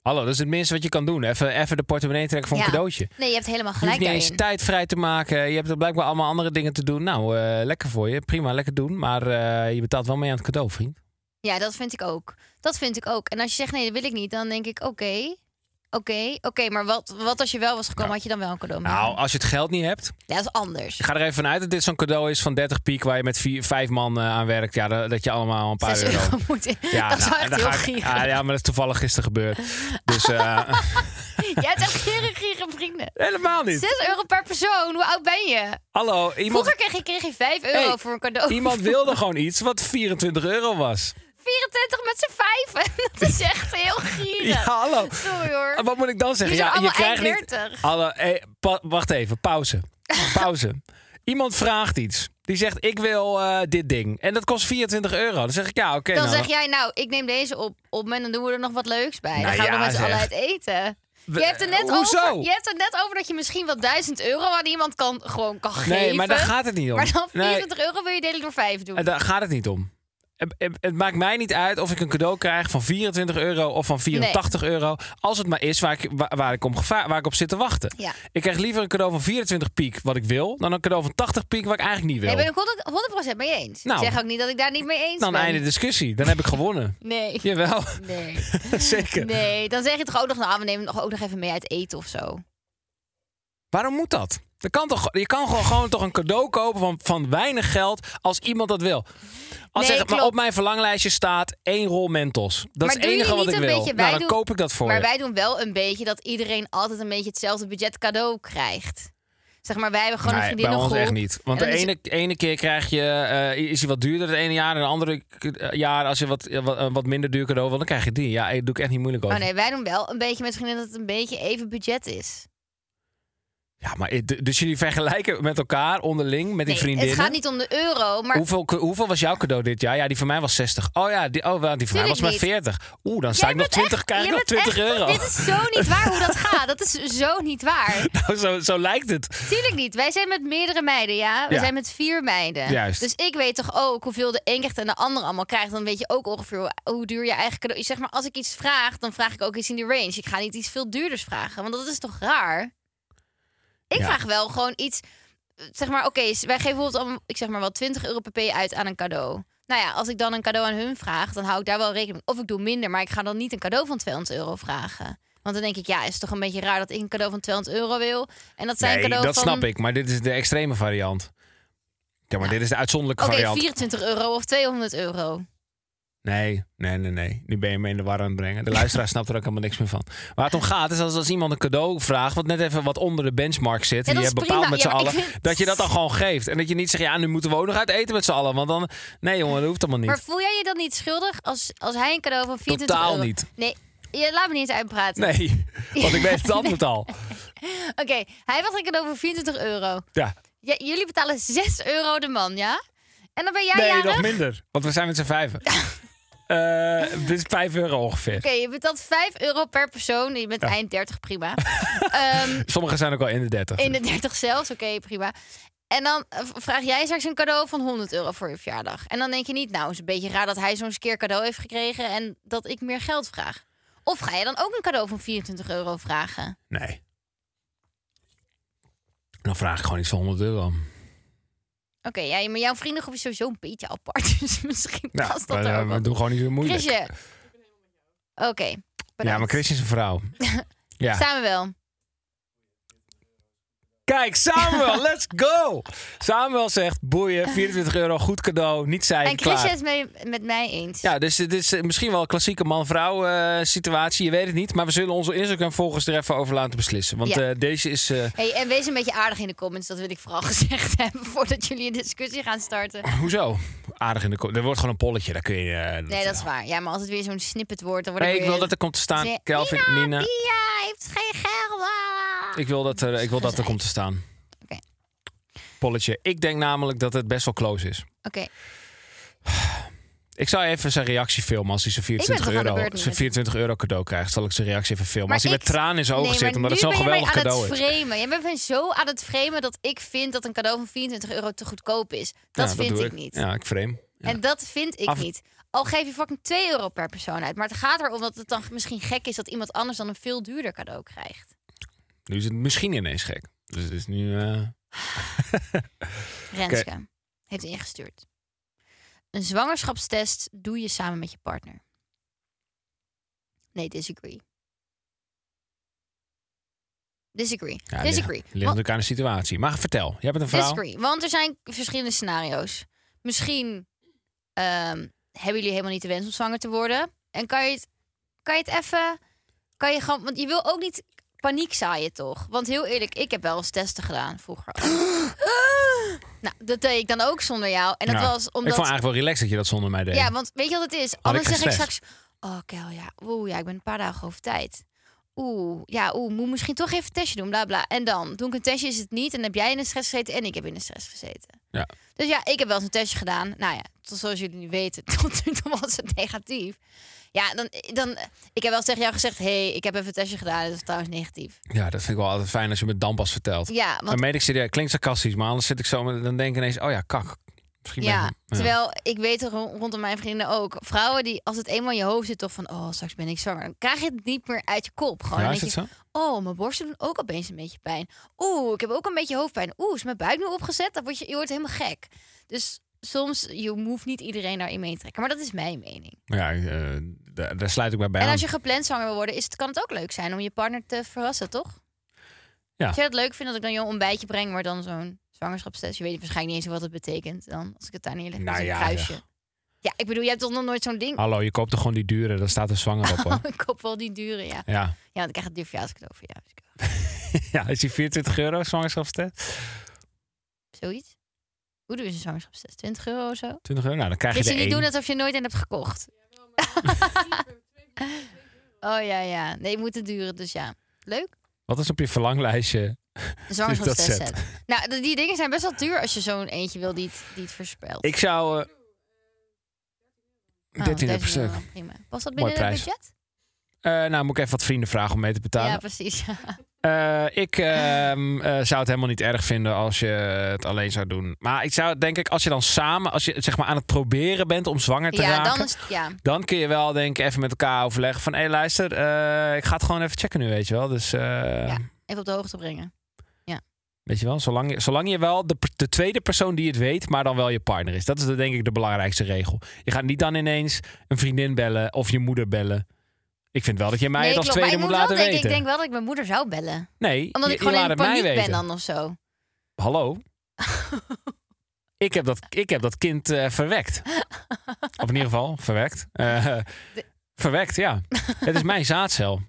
[SPEAKER 2] Hallo, dat is het minste wat je kan doen. Even, even de portemonnee trekken voor een
[SPEAKER 1] Ja.
[SPEAKER 2] cadeautje.
[SPEAKER 1] Nee, je hebt helemaal
[SPEAKER 2] Je hoeft
[SPEAKER 1] gelijk
[SPEAKER 2] niet eens
[SPEAKER 1] daarin.
[SPEAKER 2] tijd vrij te maken. Je hebt er blijkbaar allemaal andere dingen te doen. Nou, eh, lekker voor je. Prima, lekker doen. Maar eh, je betaalt wel mee aan het cadeau, vriend.
[SPEAKER 1] Ja, dat vind ik ook. Dat vind ik ook. En als je zegt nee, dat wil ik niet, dan denk ik oké. Oké, oké, maar wat, wat als je wel was gekomen,
[SPEAKER 2] Nou.
[SPEAKER 1] had je dan wel een cadeau
[SPEAKER 2] Nou,
[SPEAKER 1] meegenomen?
[SPEAKER 2] als je het geld niet hebt,
[SPEAKER 1] Ja, dat is anders.
[SPEAKER 2] Ik ga er even vanuit dat dit zo'n cadeau is van 30 piek waar je met vier, vijf man eh, aan werkt. Ja, dat, dat je allemaal een paar
[SPEAKER 1] Zes
[SPEAKER 2] euro.
[SPEAKER 1] euro moet in. dat
[SPEAKER 2] nou,
[SPEAKER 1] zou
[SPEAKER 2] en
[SPEAKER 1] echt
[SPEAKER 2] dan
[SPEAKER 1] heel
[SPEAKER 2] ga ik-
[SPEAKER 1] gierig.
[SPEAKER 2] ah, ja, maar dat is toevallig gisteren gebeurd. Dus eh,
[SPEAKER 1] Jij hebt echt gierige vrienden.
[SPEAKER 2] Helemaal niet.
[SPEAKER 1] 6 euro per persoon, hoe oud ben je?
[SPEAKER 2] Hallo, iemand,
[SPEAKER 1] Vroeger kreeg je, kreeg je 5 euro
[SPEAKER 2] Hey,
[SPEAKER 1] voor een cadeau.
[SPEAKER 2] iemand wilde gewoon iets wat 24 euro was.
[SPEAKER 1] 24 met z'n vijven. Dat is echt heel
[SPEAKER 2] Ja,
[SPEAKER 1] gierig.
[SPEAKER 2] hallo.
[SPEAKER 1] Sorry hoor.
[SPEAKER 2] Wat moet ik dan zeggen?
[SPEAKER 1] Je bent
[SPEAKER 2] Ja, je
[SPEAKER 1] allemaal
[SPEAKER 2] krijgt niet.
[SPEAKER 1] 31.
[SPEAKER 2] Hallo, eh, pa- wacht even, pauze. Pauze. Iemand vraagt iets. Die zegt: Ik wil eh, dit ding. En dat kost 24 euro. Dan zeg ik: Ja, oké.
[SPEAKER 1] Dan
[SPEAKER 2] nou,
[SPEAKER 1] zeg jij, nou, ik neem deze op, op en dan doen we er nog wat leuks bij. Dan
[SPEAKER 2] Nou
[SPEAKER 1] gaan we
[SPEAKER 2] ja,
[SPEAKER 1] nog met z'n
[SPEAKER 2] zeg.
[SPEAKER 1] allen uit eten.
[SPEAKER 2] We-
[SPEAKER 1] Je hebt, er net
[SPEAKER 2] eh, hoezo?
[SPEAKER 1] over, je hebt er net over dat je misschien wel 1000 euro aan iemand kan, gewoon kan geven.
[SPEAKER 2] Nee, maar daar gaat het niet om.
[SPEAKER 1] Maar dan
[SPEAKER 2] Nee.
[SPEAKER 1] 24 euro wil je delen door 5 doen.
[SPEAKER 2] En daar gaat het niet om. Het- Het het maakt mij niet uit of ik een cadeau krijg van 24 euro of van 84 euro. Als het maar is waar ik, waar, waar ik, om geva- waar ik op zit te wachten.
[SPEAKER 1] Ja.
[SPEAKER 2] Ik krijg liever een cadeau van 24 piek wat ik wil. dan een cadeau van 80 piek wat ik eigenlijk niet wil.
[SPEAKER 1] Nee, ben ik 100, 100% mee eens.
[SPEAKER 2] Nou.
[SPEAKER 1] ik zeg ook niet dat ik daar niet mee eens
[SPEAKER 2] dan
[SPEAKER 1] ben.
[SPEAKER 2] einde discussie. Dan heb ik gewonnen.
[SPEAKER 1] Nee.
[SPEAKER 2] Jawel,
[SPEAKER 1] Nee.
[SPEAKER 2] zeker.
[SPEAKER 1] nee, dan zeg je toch ook nog, nou, we nemen nog ook nog even mee uit eten of zo.
[SPEAKER 2] Waarom moet dat? Dat kan toch, je kan gewoon, gewoon toch een cadeau kopen van, van weinig geld als iemand dat wil. Als zeg,
[SPEAKER 1] Nee,
[SPEAKER 2] maar
[SPEAKER 1] klopt.
[SPEAKER 2] op mijn verlanglijstje staat één rol Mentos. Dat
[SPEAKER 1] Maar
[SPEAKER 2] is het
[SPEAKER 1] doe je
[SPEAKER 2] enige
[SPEAKER 1] niet
[SPEAKER 2] wat ik
[SPEAKER 1] een
[SPEAKER 2] wil.
[SPEAKER 1] beetje- wij
[SPEAKER 2] nou, dan
[SPEAKER 1] doen-
[SPEAKER 2] koop ik dat voor
[SPEAKER 1] Maar
[SPEAKER 2] je.
[SPEAKER 1] wij doen wel een beetje dat iedereen altijd een beetje hetzelfde budget cadeau krijgt. Zeg maar, wij hebben gewoon een
[SPEAKER 2] Nee, bij ons
[SPEAKER 1] vriendinnengroep.
[SPEAKER 2] echt niet. Want
[SPEAKER 1] En
[SPEAKER 2] de
[SPEAKER 1] dan is-
[SPEAKER 2] ene, ene keer krijg je, eh, is hij wat duurder het ene jaar. En de andere k- jaar, als je wat, eh, wat, een wat minder duur cadeau wil, dan krijg je die. Ja, ik doe ik echt niet moeilijk over.
[SPEAKER 1] Oh nee, wij doen wel een beetje met vrienden dat het een beetje even budget is.
[SPEAKER 2] Ja, maar eh, d- dus jullie vergelijken met elkaar onderling, met die
[SPEAKER 1] Nee,
[SPEAKER 2] vriendinnen.
[SPEAKER 1] Het gaat niet om de euro, maar
[SPEAKER 2] Hoeveel, hoeveel was jouw cadeau dit jaar? Ja, die van mij was 60. Oh ja, die, oh, wel, die van mij
[SPEAKER 1] Tuurlijk
[SPEAKER 2] was maar
[SPEAKER 1] niet.
[SPEAKER 2] 40. Oeh, dan sta
[SPEAKER 1] Jij
[SPEAKER 2] ik nog
[SPEAKER 1] bent
[SPEAKER 2] 20,
[SPEAKER 1] echt-
[SPEAKER 2] krijg ik
[SPEAKER 1] jij
[SPEAKER 2] nog
[SPEAKER 1] bent
[SPEAKER 2] 20
[SPEAKER 1] echt-
[SPEAKER 2] euro.
[SPEAKER 1] Dit is zo niet waar hoe dat gaat. Dat is zo niet waar.
[SPEAKER 2] Nou, zo, zo lijkt het.
[SPEAKER 1] Tuurlijk niet. Wij zijn met meerdere meiden, ja. We
[SPEAKER 2] Ja.
[SPEAKER 1] zijn met vier meiden.
[SPEAKER 2] Juist.
[SPEAKER 1] Dus ik weet toch ook hoeveel de een krijgt en de ander allemaal krijgt. Dan weet je ook ongeveer hoe, hoe duur je eigen cadeau... Zeg maar, als ik iets vraag, dan vraag ik ook iets in die range. Ik ga niet iets veel duurders vragen, want dat is toch raar? Ik
[SPEAKER 2] Ja.
[SPEAKER 1] vraag wel gewoon iets... Zeg maar, oké, s- wij geven bijvoorbeeld om, ik zeg maar wel 20 euro per p uit aan een cadeau. Nou ja, als ik dan een cadeau aan hun vraag, dan hou ik daar wel rekening mee. Of ik doe minder, maar ik ga dan niet een cadeau van 200 euro vragen. Want dan denk ik, ja, is het toch een beetje raar dat ik een cadeau van 200 euro wil. En dat zijn
[SPEAKER 2] Nee,
[SPEAKER 1] cadeau
[SPEAKER 2] dat
[SPEAKER 1] van...
[SPEAKER 2] snap ik. Maar dit is de extreme variant. Ja, maar dit is de uitzonderlijke
[SPEAKER 1] Oké,
[SPEAKER 2] variant.
[SPEAKER 1] 24 euro of 200 euro.
[SPEAKER 2] Nee, nee, nee, nee. Nu ben je me in de war aan het brengen. De luisteraar snapt er ook helemaal niks meer van. Waar het om gaat is als, als iemand een cadeau vraagt... wat net even wat onder de benchmark zit...
[SPEAKER 1] Ja,
[SPEAKER 2] en die
[SPEAKER 1] dat
[SPEAKER 2] je
[SPEAKER 1] is
[SPEAKER 2] hebt bepaald
[SPEAKER 1] prima.
[SPEAKER 2] met
[SPEAKER 1] Ja,
[SPEAKER 2] z'n
[SPEAKER 1] maar ik
[SPEAKER 2] allen...
[SPEAKER 1] vind-
[SPEAKER 2] dat je dat dan gewoon geeft. En dat je niet zegt... ja, nu moeten we ook nog uit eten met z'n allen. Want dan... Nee, jongen, dat hoeft allemaal niet.
[SPEAKER 1] Maar voel jij je dan niet schuldig als, als hij een cadeau van 24
[SPEAKER 2] Totaal
[SPEAKER 1] euro...
[SPEAKER 2] niet.
[SPEAKER 1] Nee, je laat me niet eens uitpraten.
[SPEAKER 2] Nee, want ik weet het antwoord al.
[SPEAKER 1] Oké, hij was een cadeau van 24 euro.
[SPEAKER 2] Ja.
[SPEAKER 1] J- jullie betalen 6 euro de man, ja? En dan ben jij
[SPEAKER 2] Nee,
[SPEAKER 1] jarig?
[SPEAKER 2] nog minder. Want we zijn met z'n vijven. Eh, dit is 5 euro ongeveer.
[SPEAKER 1] Oké, je betaalt 5 euro per persoon. Je bent eind 30, prima. Ehm,
[SPEAKER 2] Sommigen zijn ook al in de 30.
[SPEAKER 1] 31 zelfs, oké, prima. En dan eh, v- vraag jij straks een cadeau van 100 euro voor je verjaardag. En dan denk je niet, nou, is een beetje raar dat hij zo'n keer cadeau heeft gekregen en dat ik meer geld vraag. Of ga je dan ook een cadeau van 24 euro vragen?
[SPEAKER 2] Nee. Dan vraag ik gewoon iets van 100 euro.
[SPEAKER 1] Oké, ja, maar jouw vriendengroep is sowieso een beetje apart. Dus misschien
[SPEAKER 2] Nou,
[SPEAKER 1] past dat
[SPEAKER 2] we,
[SPEAKER 1] er ook
[SPEAKER 2] we
[SPEAKER 1] wel.
[SPEAKER 2] doen gewoon niet zo moeilijk.
[SPEAKER 1] Chrisje. Oké,
[SPEAKER 2] ja, maar
[SPEAKER 1] bedankt.
[SPEAKER 2] Chris is een vrouw. ja.
[SPEAKER 1] Samuel.
[SPEAKER 2] Kijk, Samuel, let's go! Samuel zegt, boeien, 24 euro, goed cadeau, niet zeiken,
[SPEAKER 1] En Chrisje
[SPEAKER 2] klaar.
[SPEAKER 1] is het mee, met mij eens.
[SPEAKER 2] Ja, dus dit is eh, misschien wel een klassieke man-vrouw eh, situatie, je weet het niet. Maar we zullen onze Instagram-volgers er even over laten beslissen. Want
[SPEAKER 1] Ja.
[SPEAKER 2] eh, deze is... eh,
[SPEAKER 1] Hey, en wees een beetje aardig in de comments, dat wil ik vooral gezegd hebben voordat jullie een discussie gaan starten.
[SPEAKER 2] Hoezo? Aardig in de ko- Er wordt gewoon een polletje, daar kun je... eh,
[SPEAKER 1] Nee, dat is waar. Ja, maar als het weer zo'n snippet wordt, dan word ik
[SPEAKER 2] Nee, ik
[SPEAKER 1] weer...
[SPEAKER 2] wil dat er komt te staan.
[SPEAKER 1] Ze-
[SPEAKER 2] Kelvin,
[SPEAKER 1] Nina,
[SPEAKER 2] Nina.
[SPEAKER 1] Pia heeft geen geld. Ah.
[SPEAKER 2] Ik wil dat er, ik wil dat er komt te staan.
[SPEAKER 1] Oké.
[SPEAKER 2] Polletje. Ik denk namelijk dat het best wel close is.
[SPEAKER 1] Oké,
[SPEAKER 2] Ik zal even zijn reactie filmen als hij zijn
[SPEAKER 1] ben toch
[SPEAKER 2] 24
[SPEAKER 1] aan de
[SPEAKER 2] euro,
[SPEAKER 1] beurt nu.
[SPEAKER 2] zijn 24 euro cadeau krijgt. Zal ik zijn reactie even filmen. als hij
[SPEAKER 1] ik-
[SPEAKER 2] met tranen in zijn ogen
[SPEAKER 1] nee,
[SPEAKER 2] zit,
[SPEAKER 1] maar
[SPEAKER 2] omdat
[SPEAKER 1] nu
[SPEAKER 2] het zo'n
[SPEAKER 1] ben je mij
[SPEAKER 2] geweldig cadeau
[SPEAKER 1] aan het
[SPEAKER 2] is.
[SPEAKER 1] framen. Jij bent mij zo aan het framen dat ik vind dat een cadeau van 24 euro te goedkoop is. Dat
[SPEAKER 2] Ja,
[SPEAKER 1] vind
[SPEAKER 2] doe
[SPEAKER 1] ik niet.
[SPEAKER 2] Ja, ik frame.
[SPEAKER 1] En dat vind ik
[SPEAKER 2] Af-
[SPEAKER 1] niet. Al geef je fucking 2 euro per persoon uit. Maar het gaat erom dat het dan misschien gek is dat iemand anders dan een veel duurder cadeau krijgt.
[SPEAKER 2] Nu is het misschien ineens gek. Dus het is nu... eh,
[SPEAKER 1] Renske heeft ingestuurd. Een zwangerschapstest doe je samen met je partner. Nee, disagree. Disagree.
[SPEAKER 2] ja,
[SPEAKER 1] disagree.
[SPEAKER 2] Ligt, ligt
[SPEAKER 1] Want-
[SPEAKER 2] natuurlijk aan de situatie. Maar vertel, jij bent een vrouw.
[SPEAKER 1] disagree. Want er zijn verschillende scenario's. Misschien ehm, hebben jullie helemaal niet de wens om zwanger te worden. En kan je het, kan je het even. Kan je gewoon. Want je wil ook niet paniek zaaien toch? Want heel eerlijk, ik heb wel eens testen gedaan vroeger. ook. nou, dat deed ik dan ook zonder jou. En dat
[SPEAKER 2] Ja.
[SPEAKER 1] was
[SPEAKER 2] Ik
[SPEAKER 1] omdat...
[SPEAKER 2] vond eigenlijk wel relaxed dat je dat zonder mij deed.
[SPEAKER 1] Ja, want weet je wat het is? Anders
[SPEAKER 2] ik
[SPEAKER 1] zeg ik
[SPEAKER 2] gestrest?
[SPEAKER 1] straks... Oh, Kel, ja. Oeh, ja, ik ben een paar dagen over tijd. Oeh, ja, oeh, moet misschien toch even een testje doen, bla, bla. En dan, doe ik een testje, is het niet. En heb jij in de stress gezeten en ik heb in de stress gezeten.
[SPEAKER 2] Ja.
[SPEAKER 1] Dus ja, ik heb wel eens een testje gedaan. Nou ja, tot zoals jullie nu weten, tot nu toe was het negatief. Ja, dan, dan... Ik heb wel eens tegen jou gezegd... hey, ik heb even een testje gedaan. Dat is trouwens negatief.
[SPEAKER 2] Ja, dat vind ik wel altijd fijn als je me dan pas vertelt.
[SPEAKER 1] Ja, want-
[SPEAKER 2] Dan meen ik serieus, klinkt sarcastisch, maar anders zit ik zo, met- dan denk ik ineens, oh ja, kak. Misschien ben ik-
[SPEAKER 1] Ja, terwijl ik weet er ro- rondom mijn vrienden ook. Vrouwen die, als het eenmaal in je hoofd zit, toch van... oh, straks ben ik zwanger. Dan krijg je het niet meer uit je kop. Gewoon.
[SPEAKER 2] Ja,
[SPEAKER 1] Dan
[SPEAKER 2] is
[SPEAKER 1] denk
[SPEAKER 2] dat
[SPEAKER 1] je, Oh, mijn borsten doen ook opeens een beetje pijn. Oeh, ik heb ook een beetje hoofdpijn. Oeh, is mijn buik nu opgezet? Dan word je, je wordt helemaal gek. Dus soms, je hoeft niet iedereen daarin mee te trekken. Maar dat is mijn mening.
[SPEAKER 2] Ja, eh, daar, daar sluit ik mij bij
[SPEAKER 1] En
[SPEAKER 2] aan.
[SPEAKER 1] als je gepland zwanger wil worden, is het, kan het ook leuk zijn om je partner te verrassen, toch?
[SPEAKER 2] Ja.
[SPEAKER 1] Als jij dat leuk vindt, dat ik dan je een ontbijtje breng, maar dan zo'n zwangerschapstest. Je weet waarschijnlijk niet eens wat het betekent dan, als ik het daar neerleg.
[SPEAKER 2] Nou
[SPEAKER 1] Nou, een
[SPEAKER 2] ja,
[SPEAKER 1] kruisje.
[SPEAKER 2] zeg. Oh.
[SPEAKER 1] Ja, ik bedoel, je hebt toch nog nooit zo'n ding? Oh,
[SPEAKER 2] Hallo, je koopt er gewoon die dure, daar staat er zwanger op hoor.
[SPEAKER 1] ik koop wel die dure, ja.
[SPEAKER 2] Ja.
[SPEAKER 1] Ja, want ik krijg het duur verjaarscadeau voor jou. Dus ik-
[SPEAKER 2] ja, is die 24 euro zwangerschapstest?
[SPEAKER 1] Zoiets. Hoe doe je een zwangerschapstest? 20 euro of zo?
[SPEAKER 2] 20 euro? Nou, dan krijg je
[SPEAKER 1] Dus
[SPEAKER 2] de
[SPEAKER 1] jullie
[SPEAKER 2] één.
[SPEAKER 1] doen alsof je nooit een hebt gekocht. oh ja, ja. Nee, het moet het duren, dus ja. Leuk.
[SPEAKER 2] Wat is op je verlanglijstje?
[SPEAKER 1] Een zwangerschapstest
[SPEAKER 2] set.
[SPEAKER 1] set. Nou, d- die dingen zijn best wel duur als je zo'n eentje wil die het, die het voorspelt.
[SPEAKER 2] Ik zou... eh,
[SPEAKER 1] Oh,
[SPEAKER 2] 13 euro per
[SPEAKER 1] 13
[SPEAKER 2] stuk.
[SPEAKER 1] euro, Prima. Was dat binnen het
[SPEAKER 2] prijs.
[SPEAKER 1] budget?
[SPEAKER 2] Eh, nou, moet ik even wat vrienden vragen om mee te betalen.
[SPEAKER 1] Ja, precies. Ja.
[SPEAKER 2] Eh, ik ehm, eh, zou het helemaal niet erg vinden als je het alleen zou doen. Maar ik zou denk ik, als je dan samen, als je zeg maar aan het proberen bent om zwanger te
[SPEAKER 1] Ja,
[SPEAKER 2] raken.
[SPEAKER 1] dan is het- ja.
[SPEAKER 2] Dan kun je wel denk ik even met elkaar overleggen van... hé hey, luister, eh, ik ga het gewoon even checken nu, weet je wel. Dus eh,
[SPEAKER 1] ja, even op de hoogte brengen.
[SPEAKER 2] weet je wel, zolang je, zolang je wel de, de tweede persoon die het weet... maar dan wel je partner is. Dat is de- denk ik de belangrijkste regel. Je gaat niet dan ineens een vriendin bellen of je moeder bellen. Ik vind wel dat je mij
[SPEAKER 1] nee,
[SPEAKER 2] het als
[SPEAKER 1] klopt. Maar
[SPEAKER 2] tweede
[SPEAKER 1] ik
[SPEAKER 2] moet
[SPEAKER 1] moet wel
[SPEAKER 2] laten weten.
[SPEAKER 1] denken, ik denk wel dat ik mijn moeder zou bellen.
[SPEAKER 2] nee,
[SPEAKER 1] Omdat
[SPEAKER 2] je,
[SPEAKER 1] ik
[SPEAKER 2] je
[SPEAKER 1] gewoon
[SPEAKER 2] laat
[SPEAKER 1] in
[SPEAKER 2] het mij
[SPEAKER 1] paniek
[SPEAKER 2] weten. Nou,
[SPEAKER 1] ben dan of zo.
[SPEAKER 2] Hallo? ik, heb dat, ik heb dat kind eh, verwekt. Of in ieder geval, verwekt. Eh, verwekt, ja. Het is mijn zaadcel.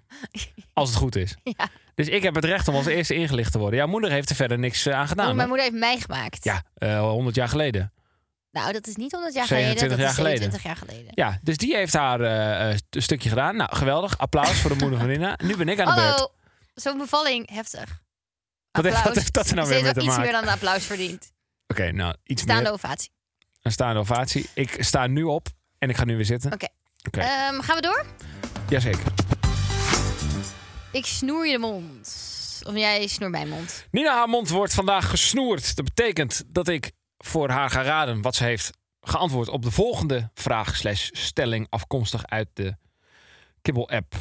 [SPEAKER 2] Als het goed is.
[SPEAKER 1] Ja.
[SPEAKER 2] Dus ik heb het recht om als eerste ingelicht te worden. Jouw moeder heeft er verder niks eh, aan gedaan.
[SPEAKER 1] mijn
[SPEAKER 2] hè?
[SPEAKER 1] moeder heeft mij gemaakt.
[SPEAKER 2] Ja, eh 100 jaar geleden.
[SPEAKER 1] Nou, dat is niet 100 jaar
[SPEAKER 2] 27
[SPEAKER 1] geleden. Dat
[SPEAKER 2] jaar
[SPEAKER 1] is
[SPEAKER 2] geleden.
[SPEAKER 1] 27 jaar geleden.
[SPEAKER 2] Ja, dus die heeft haar eh, eh, st- een stukje gedaan. Nou, geweldig. Applaus voor de moeder van Nina. Nu ben ik aan de beurt.
[SPEAKER 1] Hallo, zo'n bevalling, heftig.
[SPEAKER 2] Wat heeft-
[SPEAKER 1] Applaus.
[SPEAKER 2] wat heeft dat er nou
[SPEAKER 1] Ze
[SPEAKER 2] weer
[SPEAKER 1] heeft
[SPEAKER 2] mee
[SPEAKER 1] wel
[SPEAKER 2] te
[SPEAKER 1] iets
[SPEAKER 2] maken?
[SPEAKER 1] meer dan een applaus verdient.
[SPEAKER 2] Oké, nou, iets
[SPEAKER 1] Staande
[SPEAKER 2] meer.
[SPEAKER 1] ovatie.
[SPEAKER 2] Een staande ovatie. Ik sta nu op en ik ga nu weer zitten.
[SPEAKER 1] Oké.
[SPEAKER 2] Oké.
[SPEAKER 1] Ehm, gaan we door?
[SPEAKER 2] Jazeker.
[SPEAKER 1] Ik snoer je de mond. Of jij snoert mijn mond.
[SPEAKER 2] Nina, haar mond wordt vandaag gesnoerd. Dat betekent dat ik voor haar ga raden wat ze heeft geantwoord op de volgende vraag slash stelling afkomstig uit de Kibbel-app.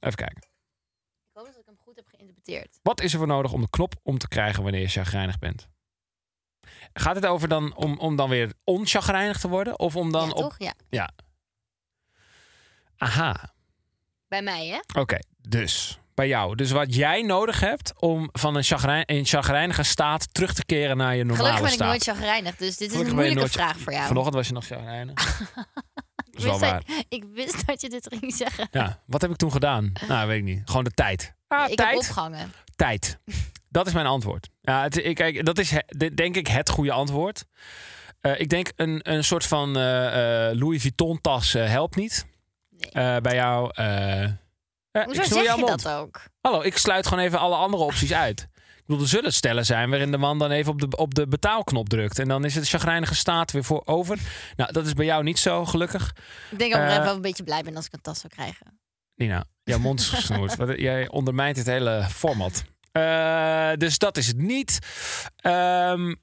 [SPEAKER 2] Even kijken.
[SPEAKER 1] Ik hoop dat ik hem goed heb geïnterpreteerd.
[SPEAKER 2] Wat is er voor nodig om de knop om te krijgen wanneer je chagrijnig bent? Gaat het over dan om, om dan weer onchagrijnig te worden? Of om dan
[SPEAKER 1] ja,
[SPEAKER 2] op...
[SPEAKER 1] toch? Ja.
[SPEAKER 2] Ja. Aha.
[SPEAKER 1] Bij mij, hè?
[SPEAKER 2] Oké, dus bij jou. Dus wat jij nodig hebt om van een, chagrijn, een chagrijnige staat terug te keren naar je normale
[SPEAKER 1] Gelukkig ben ik
[SPEAKER 2] staat.
[SPEAKER 1] nooit chagrijnig, dus dit is
[SPEAKER 2] Gelukkig
[SPEAKER 1] een
[SPEAKER 2] ben je
[SPEAKER 1] moeilijke
[SPEAKER 2] nooit-
[SPEAKER 1] vraag voor jou.
[SPEAKER 2] Vanochtend was je nog chagrijnig. dat is wel
[SPEAKER 1] Wist
[SPEAKER 2] waar.
[SPEAKER 1] dat- ik wist dat je dit ging zeggen.
[SPEAKER 2] Ja, wat heb ik toen gedaan? Nou, weet ik niet. Gewoon de tijd. Ah,
[SPEAKER 1] ik heb
[SPEAKER 2] tijd.
[SPEAKER 1] opgehangen.
[SPEAKER 2] tijd. Dat is mijn antwoord. Ja, het, ik, kijk, dat is he- de- denk ik het goede antwoord. Eh, ik denk een, een soort van eh, eh, Louis Vuitton tas eh, helpt niet. Eh, bij jou. eh, eh, ik
[SPEAKER 1] Hoezo
[SPEAKER 2] snoer
[SPEAKER 1] zeg
[SPEAKER 2] jouw
[SPEAKER 1] je
[SPEAKER 2] mond.
[SPEAKER 1] dat ook?
[SPEAKER 2] Hallo, ik sluit gewoon even alle andere opties uit. Ik bedoel, er zullen stellen zijn waarin de man dan even op de, op de betaalknop drukt. En dan is het chagrijnige staat weer voor over. Nou, dat is bij jou niet zo, gelukkig.
[SPEAKER 1] Ik denk dat ik
[SPEAKER 2] Eh,
[SPEAKER 1] wel een beetje blij ben als ik een tas zou krijgen.
[SPEAKER 2] Nina, jouw mond is gesnoerd. Wat- Jij ondermijnt het hele format. Eh, dus dat is het niet. Ehm,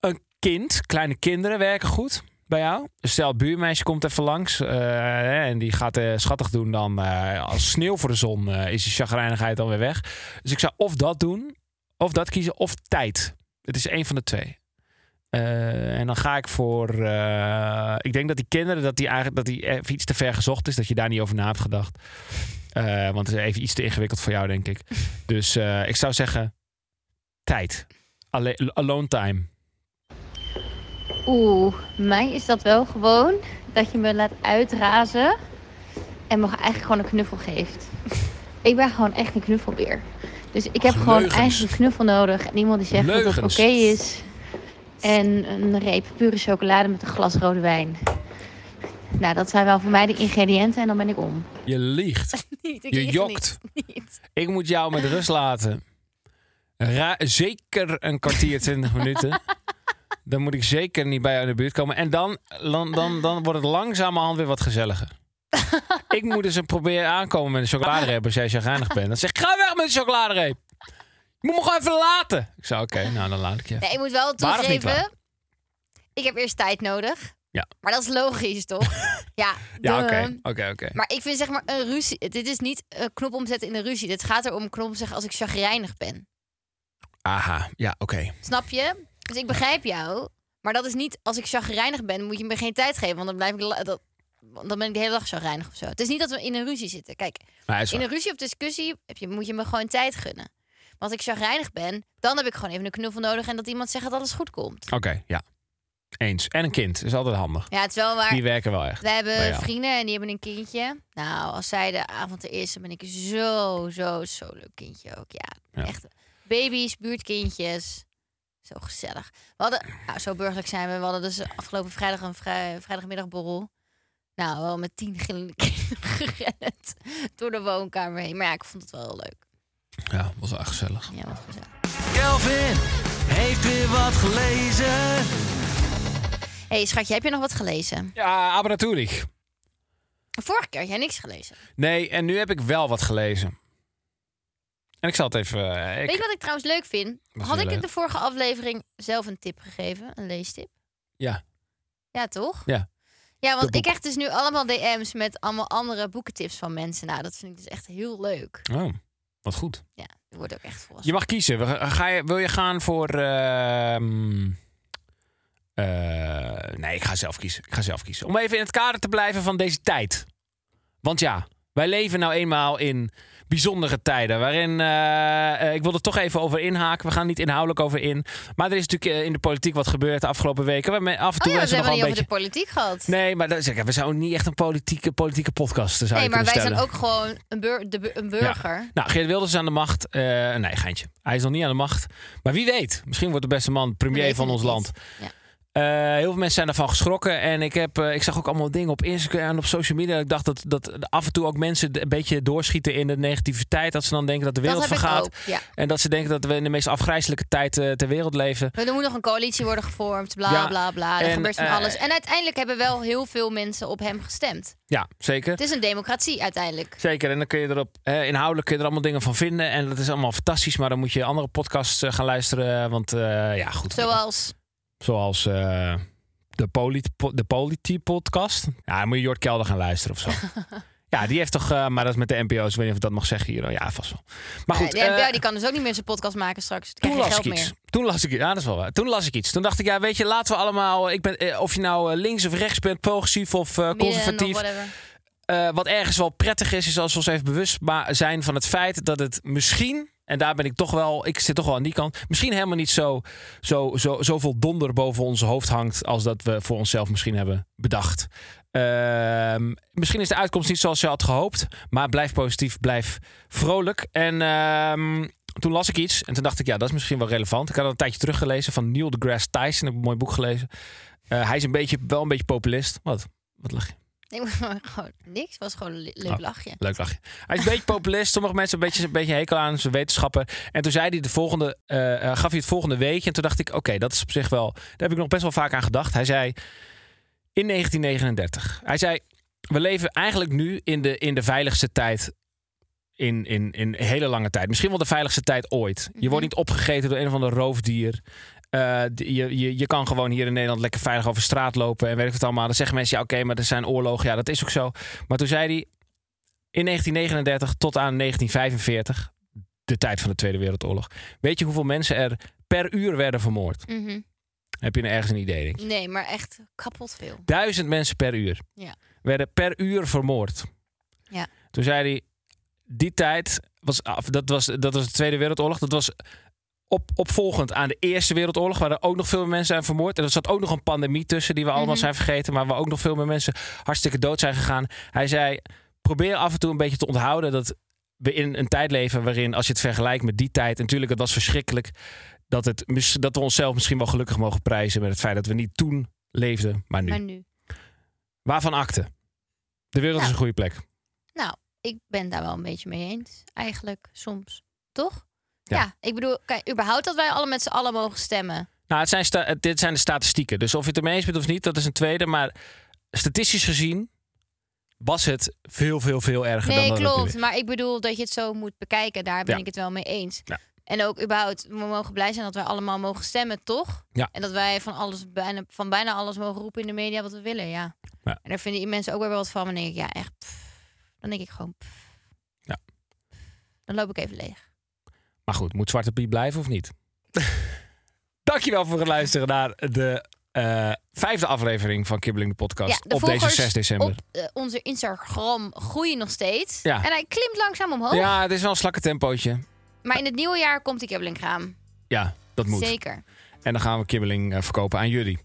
[SPEAKER 2] een kind, kleine kinderen werken goed bij jou. Dus Stel, het buurmeisje komt even langs eh, hè, en die gaat eh, schattig doen. Dan eh, als sneeuw voor de zon eh, is die chagrijnigheid alweer weg. Dus ik zou of dat doen, of dat kiezen, of tijd. Het is één van de twee. Eh, en dan ga ik voor. eh, ik denk dat die kinderen, dat die eigenlijk dat die even iets te ver gezocht is, dat je daar niet over na hebt gedacht. Eh, want het is even iets te ingewikkeld voor jou, denk ik. Dus eh, ik zou zeggen: tijd. Alle- alone time.
[SPEAKER 4] Oeh, mij is dat wel gewoon dat je me laat uitrazen en me eigenlijk gewoon een knuffel geeft.
[SPEAKER 1] Ik ben gewoon echt een knuffelbeer. Dus ik heb
[SPEAKER 2] Och,
[SPEAKER 1] gewoon
[SPEAKER 2] leugens.
[SPEAKER 1] eigenlijk een knuffel nodig. En iemand die zegt dat het
[SPEAKER 2] Leugens.
[SPEAKER 1] oké is. En een reep pure chocolade met een glas rode wijn. Nou, dat zijn wel voor mij de ingrediënten en dan ben ik om.
[SPEAKER 2] Je liegt.
[SPEAKER 1] Niet, ik
[SPEAKER 2] Je jokt. Ik moet jou met rust laten. Ra- zeker een kwartier, twintig minuten. Dan moet ik zeker niet bij jou in de buurt komen. En dan, dan, dan, dan wordt het langzamerhand weer wat gezelliger. Ik moet dus een proberen aankomen met een chocoladereep als jij chagrijnig bent. Dan zeg ik, ga weg met de chocoladereep. Je moet me gewoon even laten. Ik zei, oké, nou dan laat ik je. even.
[SPEAKER 1] Nee, ik moet wel
[SPEAKER 2] Waar of niet waar?
[SPEAKER 1] toegeven. Ik heb eerst tijd nodig.
[SPEAKER 2] Ja.
[SPEAKER 1] Maar dat is logisch, toch? ja,
[SPEAKER 2] Ja,
[SPEAKER 1] duh.
[SPEAKER 2] oké, oké, oké.
[SPEAKER 1] Maar ik vind zeg maar een ruzie. Dit is niet eh, knop omzetten in een ruzie. Dit gaat erom knop omzetten als ik chagrijnig ben.
[SPEAKER 2] Aha, ja, oké.
[SPEAKER 1] Snap je? Dus ik begrijp jou. Maar dat is niet als ik chagrijnig ben, moet je me geen tijd geven. Want dan, blijf ik la- dat, want dan ben ik de hele dag chagrijnig of zo. Het is niet dat we in een ruzie zitten. Kijk,
[SPEAKER 2] Maar hij is
[SPEAKER 1] in
[SPEAKER 2] waar.
[SPEAKER 1] een ruzie of discussie heb je, moet je me gewoon tijd gunnen. Want als ik chagrijnig ben, dan heb ik gewoon even een knuffel nodig. En dat iemand zegt dat alles goed komt.
[SPEAKER 2] Oké, ja. Eens. En een kind is altijd handig.
[SPEAKER 1] Ja, het is wel waar.
[SPEAKER 2] Die werken wel echt.
[SPEAKER 1] We
[SPEAKER 2] bij
[SPEAKER 1] hebben
[SPEAKER 2] jou.
[SPEAKER 1] vrienden en die hebben een kindje. Nou, als zij de avond er is, dan ben ik zo, zo, zo leuk kindje ook. Ja,
[SPEAKER 2] Ja.
[SPEAKER 1] echt. Baby's, buurtkindjes. Zo gezellig. We hadden, nou, zo burgerlijk zijn we. We hadden dus afgelopen vrijdag een vrij, vrijdagmiddagborrel. Nou, wel met tien gillende kinderen gerend door de woonkamer heen. Maar ja, ik vond het wel heel leuk.
[SPEAKER 2] Ja, was wel echt gezellig.
[SPEAKER 1] Ja, wat gezellig.
[SPEAKER 3] Kelvin heeft weer wat gelezen.
[SPEAKER 1] hey, schatje, heb je nog wat gelezen?
[SPEAKER 2] Ja, abraturig.
[SPEAKER 1] Vorige keer had jij niks gelezen.
[SPEAKER 2] Nee, en nu heb ik wel wat gelezen. En ik zal het even... eh, ik-
[SPEAKER 1] Weet je wat ik trouwens leuk vind?
[SPEAKER 2] is
[SPEAKER 1] Had
[SPEAKER 2] heel
[SPEAKER 1] ik in
[SPEAKER 2] leuk.
[SPEAKER 1] de vorige aflevering zelf een tip gegeven? Een leestip?
[SPEAKER 2] Ja.
[SPEAKER 1] Ja, toch?
[SPEAKER 2] Ja.
[SPEAKER 1] Ja,
[SPEAKER 2] De
[SPEAKER 1] want
[SPEAKER 2] boeken.
[SPEAKER 1] ik krijg dus nu allemaal DM's met allemaal andere boekentips van mensen. Nou, dat vind ik dus echt heel leuk.
[SPEAKER 2] Oh, wat goed.
[SPEAKER 1] Ja, ik word ook echt volwassen.
[SPEAKER 2] Je mag kiezen. We- Ga je, wil je gaan voor... ehm, eh, nee, ik ga zelf kiezen. Ik ga zelf kiezen. Om even in het kader te blijven van deze tijd. Want ja, wij leven nou eenmaal in bijzondere tijden. Waarin, eh, eh, ik wil er toch even over inhaken. We gaan niet inhoudelijk over in. Maar er is natuurlijk eh, in de politiek wat gebeurd de afgelopen weken. Waarmee af en toe
[SPEAKER 1] oh ja, we
[SPEAKER 2] mensen nog
[SPEAKER 1] hebben
[SPEAKER 2] wel
[SPEAKER 1] het
[SPEAKER 2] een
[SPEAKER 1] niet
[SPEAKER 2] beetje...
[SPEAKER 1] over de politiek gehad.
[SPEAKER 2] Nee, maar dat, zeg, we zijn ook niet echt een politieke, politieke podcast, zou je
[SPEAKER 1] Nee, maar
[SPEAKER 2] kunnen
[SPEAKER 1] wij zijn
[SPEAKER 2] stellen.
[SPEAKER 1] ook gewoon een, bur- de bu- een burger.
[SPEAKER 2] Nou, Geert Wilders is aan de macht. Eh, nee, geintje. Hij is nog niet aan de macht. Maar wie weet, misschien wordt de beste man
[SPEAKER 1] We
[SPEAKER 2] premier
[SPEAKER 1] weten
[SPEAKER 2] van
[SPEAKER 1] het
[SPEAKER 2] ons
[SPEAKER 1] niet.
[SPEAKER 2] land.
[SPEAKER 1] Ja.
[SPEAKER 2] Eh, heel veel mensen zijn daarvan geschrokken. En ik, heb, eh, ik zag ook allemaal dingen op Instagram en op social media. Ik dacht dat, dat af en toe ook mensen een beetje doorschieten in de negativiteit. Dat ze dan denken dat de
[SPEAKER 1] Dat
[SPEAKER 2] wereld
[SPEAKER 1] heb ik
[SPEAKER 2] vergaat.
[SPEAKER 1] ook, ja.
[SPEAKER 2] En dat ze denken dat we in de meest afgrijzelijke tijd eh, ter wereld leven.
[SPEAKER 1] Er moet nog een coalitie worden gevormd, bla
[SPEAKER 2] Ja,
[SPEAKER 1] bla bla. Er
[SPEAKER 2] en,
[SPEAKER 1] gebeurt van
[SPEAKER 2] eh,
[SPEAKER 1] alles. En uiteindelijk hebben wel heel veel mensen op hem gestemd.
[SPEAKER 2] Ja, zeker.
[SPEAKER 1] Het is een democratie uiteindelijk.
[SPEAKER 2] Zeker, en dan kun je erop eh, inhoudelijk kun je er allemaal dingen van vinden. En dat is allemaal fantastisch, maar dan moet je andere podcasts eh, gaan luisteren. Want eh, ja, goed.
[SPEAKER 1] Zoals,
[SPEAKER 2] Zoals eh, de, polit de Polity-podcast. Ja, dan moet je Jort Kelder gaan luisteren of zo. ja, die heeft toch, eh, maar dat is met de NPO's. Ik weet niet of ik dat mag zeggen hier. Oh, Ja, vast wel. Maar
[SPEAKER 1] eh,
[SPEAKER 2] goed,
[SPEAKER 1] de NPO
[SPEAKER 2] eh,
[SPEAKER 1] die kan dus ook niet meer zijn podcast maken straks. Dan
[SPEAKER 2] toen
[SPEAKER 1] krijg je
[SPEAKER 2] las ik
[SPEAKER 1] geld
[SPEAKER 2] iets.
[SPEAKER 1] meer.
[SPEAKER 2] Toen las ik iets. Ja, dat is wel waar. Toen las ik iets. Toen dacht ik, ja, weet je, laten we allemaal. Ik ben, eh, of je nou eh, links of rechts bent, progressief of eh,
[SPEAKER 1] Midden-
[SPEAKER 2] conservatief.
[SPEAKER 1] of whatever.
[SPEAKER 2] Eh, wat ergens wel prettig is, is als we ons even bewust ma- zijn van het feit dat het misschien. En daar ben ik toch wel, ik zit toch wel aan die kant. Misschien helemaal niet zo, zo, zo, zoveel donder boven ons hoofd hangt. als dat we voor onszelf misschien hebben bedacht. Ehm, misschien is de uitkomst niet zoals je had gehoopt. maar blijf positief, blijf vrolijk. En ehm, toen las ik iets en toen dacht ik, ja, dat is misschien wel relevant. Ik had het een tijdje teruggelezen van Neil deGrasse Tyson. Ik heb een mooi boek gelezen. Eh, hij is een beetje, wel een beetje populist. Wat? Wat lag je?
[SPEAKER 1] Nee, maar gewoon niks. Het was gewoon een le- leuk
[SPEAKER 2] Oh.
[SPEAKER 1] lachje.
[SPEAKER 2] Leuk lachje. Hij is een beetje populist. Sommige mensen een beetje, een beetje hekel aan zijn wetenschappen. En toen zei hij de volgende, eh, eh, gaf hij het volgende weetje. En toen dacht ik, oké, dat is op zich wel... Daar heb ik nog best wel vaak aan gedacht. Hij zei, in 1939. Hij zei, we leven eigenlijk nu in de, in de veiligste tijd... In, in, in hele lange tijd. Misschien wel de veiligste tijd ooit. Je wordt niet opgegeten door een of ander roofdier. Eh, d- je, je, je kan gewoon hier in Nederland lekker veilig over straat lopen. En weet ik het allemaal. Dan zeggen mensen, ja oké, maar er zijn oorlogen. Ja, dat is ook zo. Maar toen zei hij, in 1939 tot aan 1945, de tijd van de Tweede Wereldoorlog, weet je hoeveel mensen er per uur werden vermoord?
[SPEAKER 1] Mhm.
[SPEAKER 2] Heb je er ergens een idee? Denk je?
[SPEAKER 1] Nee, maar echt kapot veel.
[SPEAKER 2] Duizend mensen per uur
[SPEAKER 1] Ja.
[SPEAKER 2] werden per uur vermoord.
[SPEAKER 1] Ja.
[SPEAKER 2] Toen zei hij, die tijd, was, af- dat, was, dat was de Tweede Wereldoorlog, dat was op, opvolgend aan de Eerste Wereldoorlog, waar er ook nog veel meer mensen zijn vermoord. En er zat ook nog een pandemie tussen die we allemaal
[SPEAKER 1] Mhm.
[SPEAKER 2] zijn vergeten, maar waar ook nog veel meer mensen hartstikke dood zijn gegaan. Hij zei, probeer af en toe een beetje te onthouden dat we in een tijd leven waarin, als je het vergelijkt met die tijd, en natuurlijk, het was verschrikkelijk dat, het, mis- dat we onszelf misschien wel gelukkig mogen prijzen met het feit dat we niet toen leefden, maar nu.
[SPEAKER 1] Maar nu.
[SPEAKER 2] Waarvan akte? De wereld
[SPEAKER 1] Nou.
[SPEAKER 2] is een goede plek.
[SPEAKER 1] Nou, ik ben daar wel een beetje mee eens. Eigenlijk soms. Toch?
[SPEAKER 2] Ja.
[SPEAKER 1] Ja, ik bedoel, kijk, überhaupt dat wij alle met z'n allen mogen stemmen.
[SPEAKER 2] Nou, het zijn sta- het- dit zijn de statistieken. Dus of je het ermee eens bent of niet, dat is een tweede. Maar statistisch gezien was het veel, veel, veel erger dan
[SPEAKER 1] Nee,
[SPEAKER 2] dat het nu
[SPEAKER 1] klopt.
[SPEAKER 2] is.
[SPEAKER 1] Maar ik bedoel dat je het zo moet bekijken. Daar ben
[SPEAKER 2] Ja.
[SPEAKER 1] ik het wel mee eens.
[SPEAKER 2] Ja.
[SPEAKER 1] En ook überhaupt, we mogen blij zijn dat wij allemaal mogen stemmen, toch?
[SPEAKER 2] Ja.
[SPEAKER 1] En dat wij van, alles, bijna, van bijna alles mogen roepen in de media wat we willen, ja.
[SPEAKER 2] Ja.
[SPEAKER 1] En daar vinden die mensen ook weer wat van. Maar dan denk ik, ja, echt. pff. Dan denk ik gewoon. pff.
[SPEAKER 2] Ja.
[SPEAKER 1] Dan loop ik even leeg.
[SPEAKER 2] Maar goed, moet Zwarte Piet blijven of niet? Dankjewel voor het luisteren naar de eh, vijfde aflevering van Kibbeling de
[SPEAKER 1] ja,
[SPEAKER 2] podcast
[SPEAKER 1] de
[SPEAKER 2] op deze
[SPEAKER 1] volgers
[SPEAKER 2] 6 december.
[SPEAKER 1] Op eh, onze Instagram groeien nog steeds.
[SPEAKER 2] Ja.
[SPEAKER 1] En hij klimt langzaam omhoog.
[SPEAKER 2] Ja, het is wel een slakke tempootje.
[SPEAKER 1] Maar in het nieuwe jaar komt die Kibbelingraam.
[SPEAKER 2] Ja, dat moet.
[SPEAKER 1] Zeker.
[SPEAKER 2] En dan gaan we kibbeling eh, verkopen aan jullie.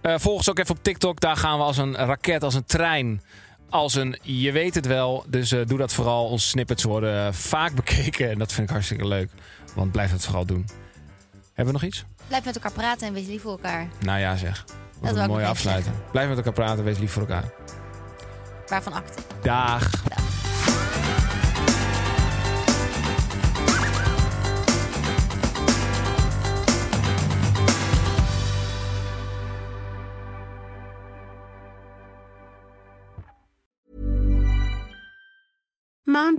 [SPEAKER 2] Eh volg ons ook even op TikTok. Daar gaan we als een raket, als een trein. Als een, je weet het wel. Dus eh, doe dat vooral. Onze snippets worden eh, vaak bekeken. En dat vind ik hartstikke leuk. Want blijf dat vooral doen. Hebben we nog iets?
[SPEAKER 1] Blijf met elkaar praten en wees lief voor elkaar.
[SPEAKER 2] Nou ja, zeg.
[SPEAKER 1] wou
[SPEAKER 2] Wat
[SPEAKER 1] ik
[SPEAKER 2] een
[SPEAKER 1] nog
[SPEAKER 2] mooie
[SPEAKER 1] even
[SPEAKER 2] afsluiter. Blijf met elkaar praten. Wees lief voor elkaar.
[SPEAKER 1] Waarvan acte.
[SPEAKER 2] Dag.
[SPEAKER 5] Mom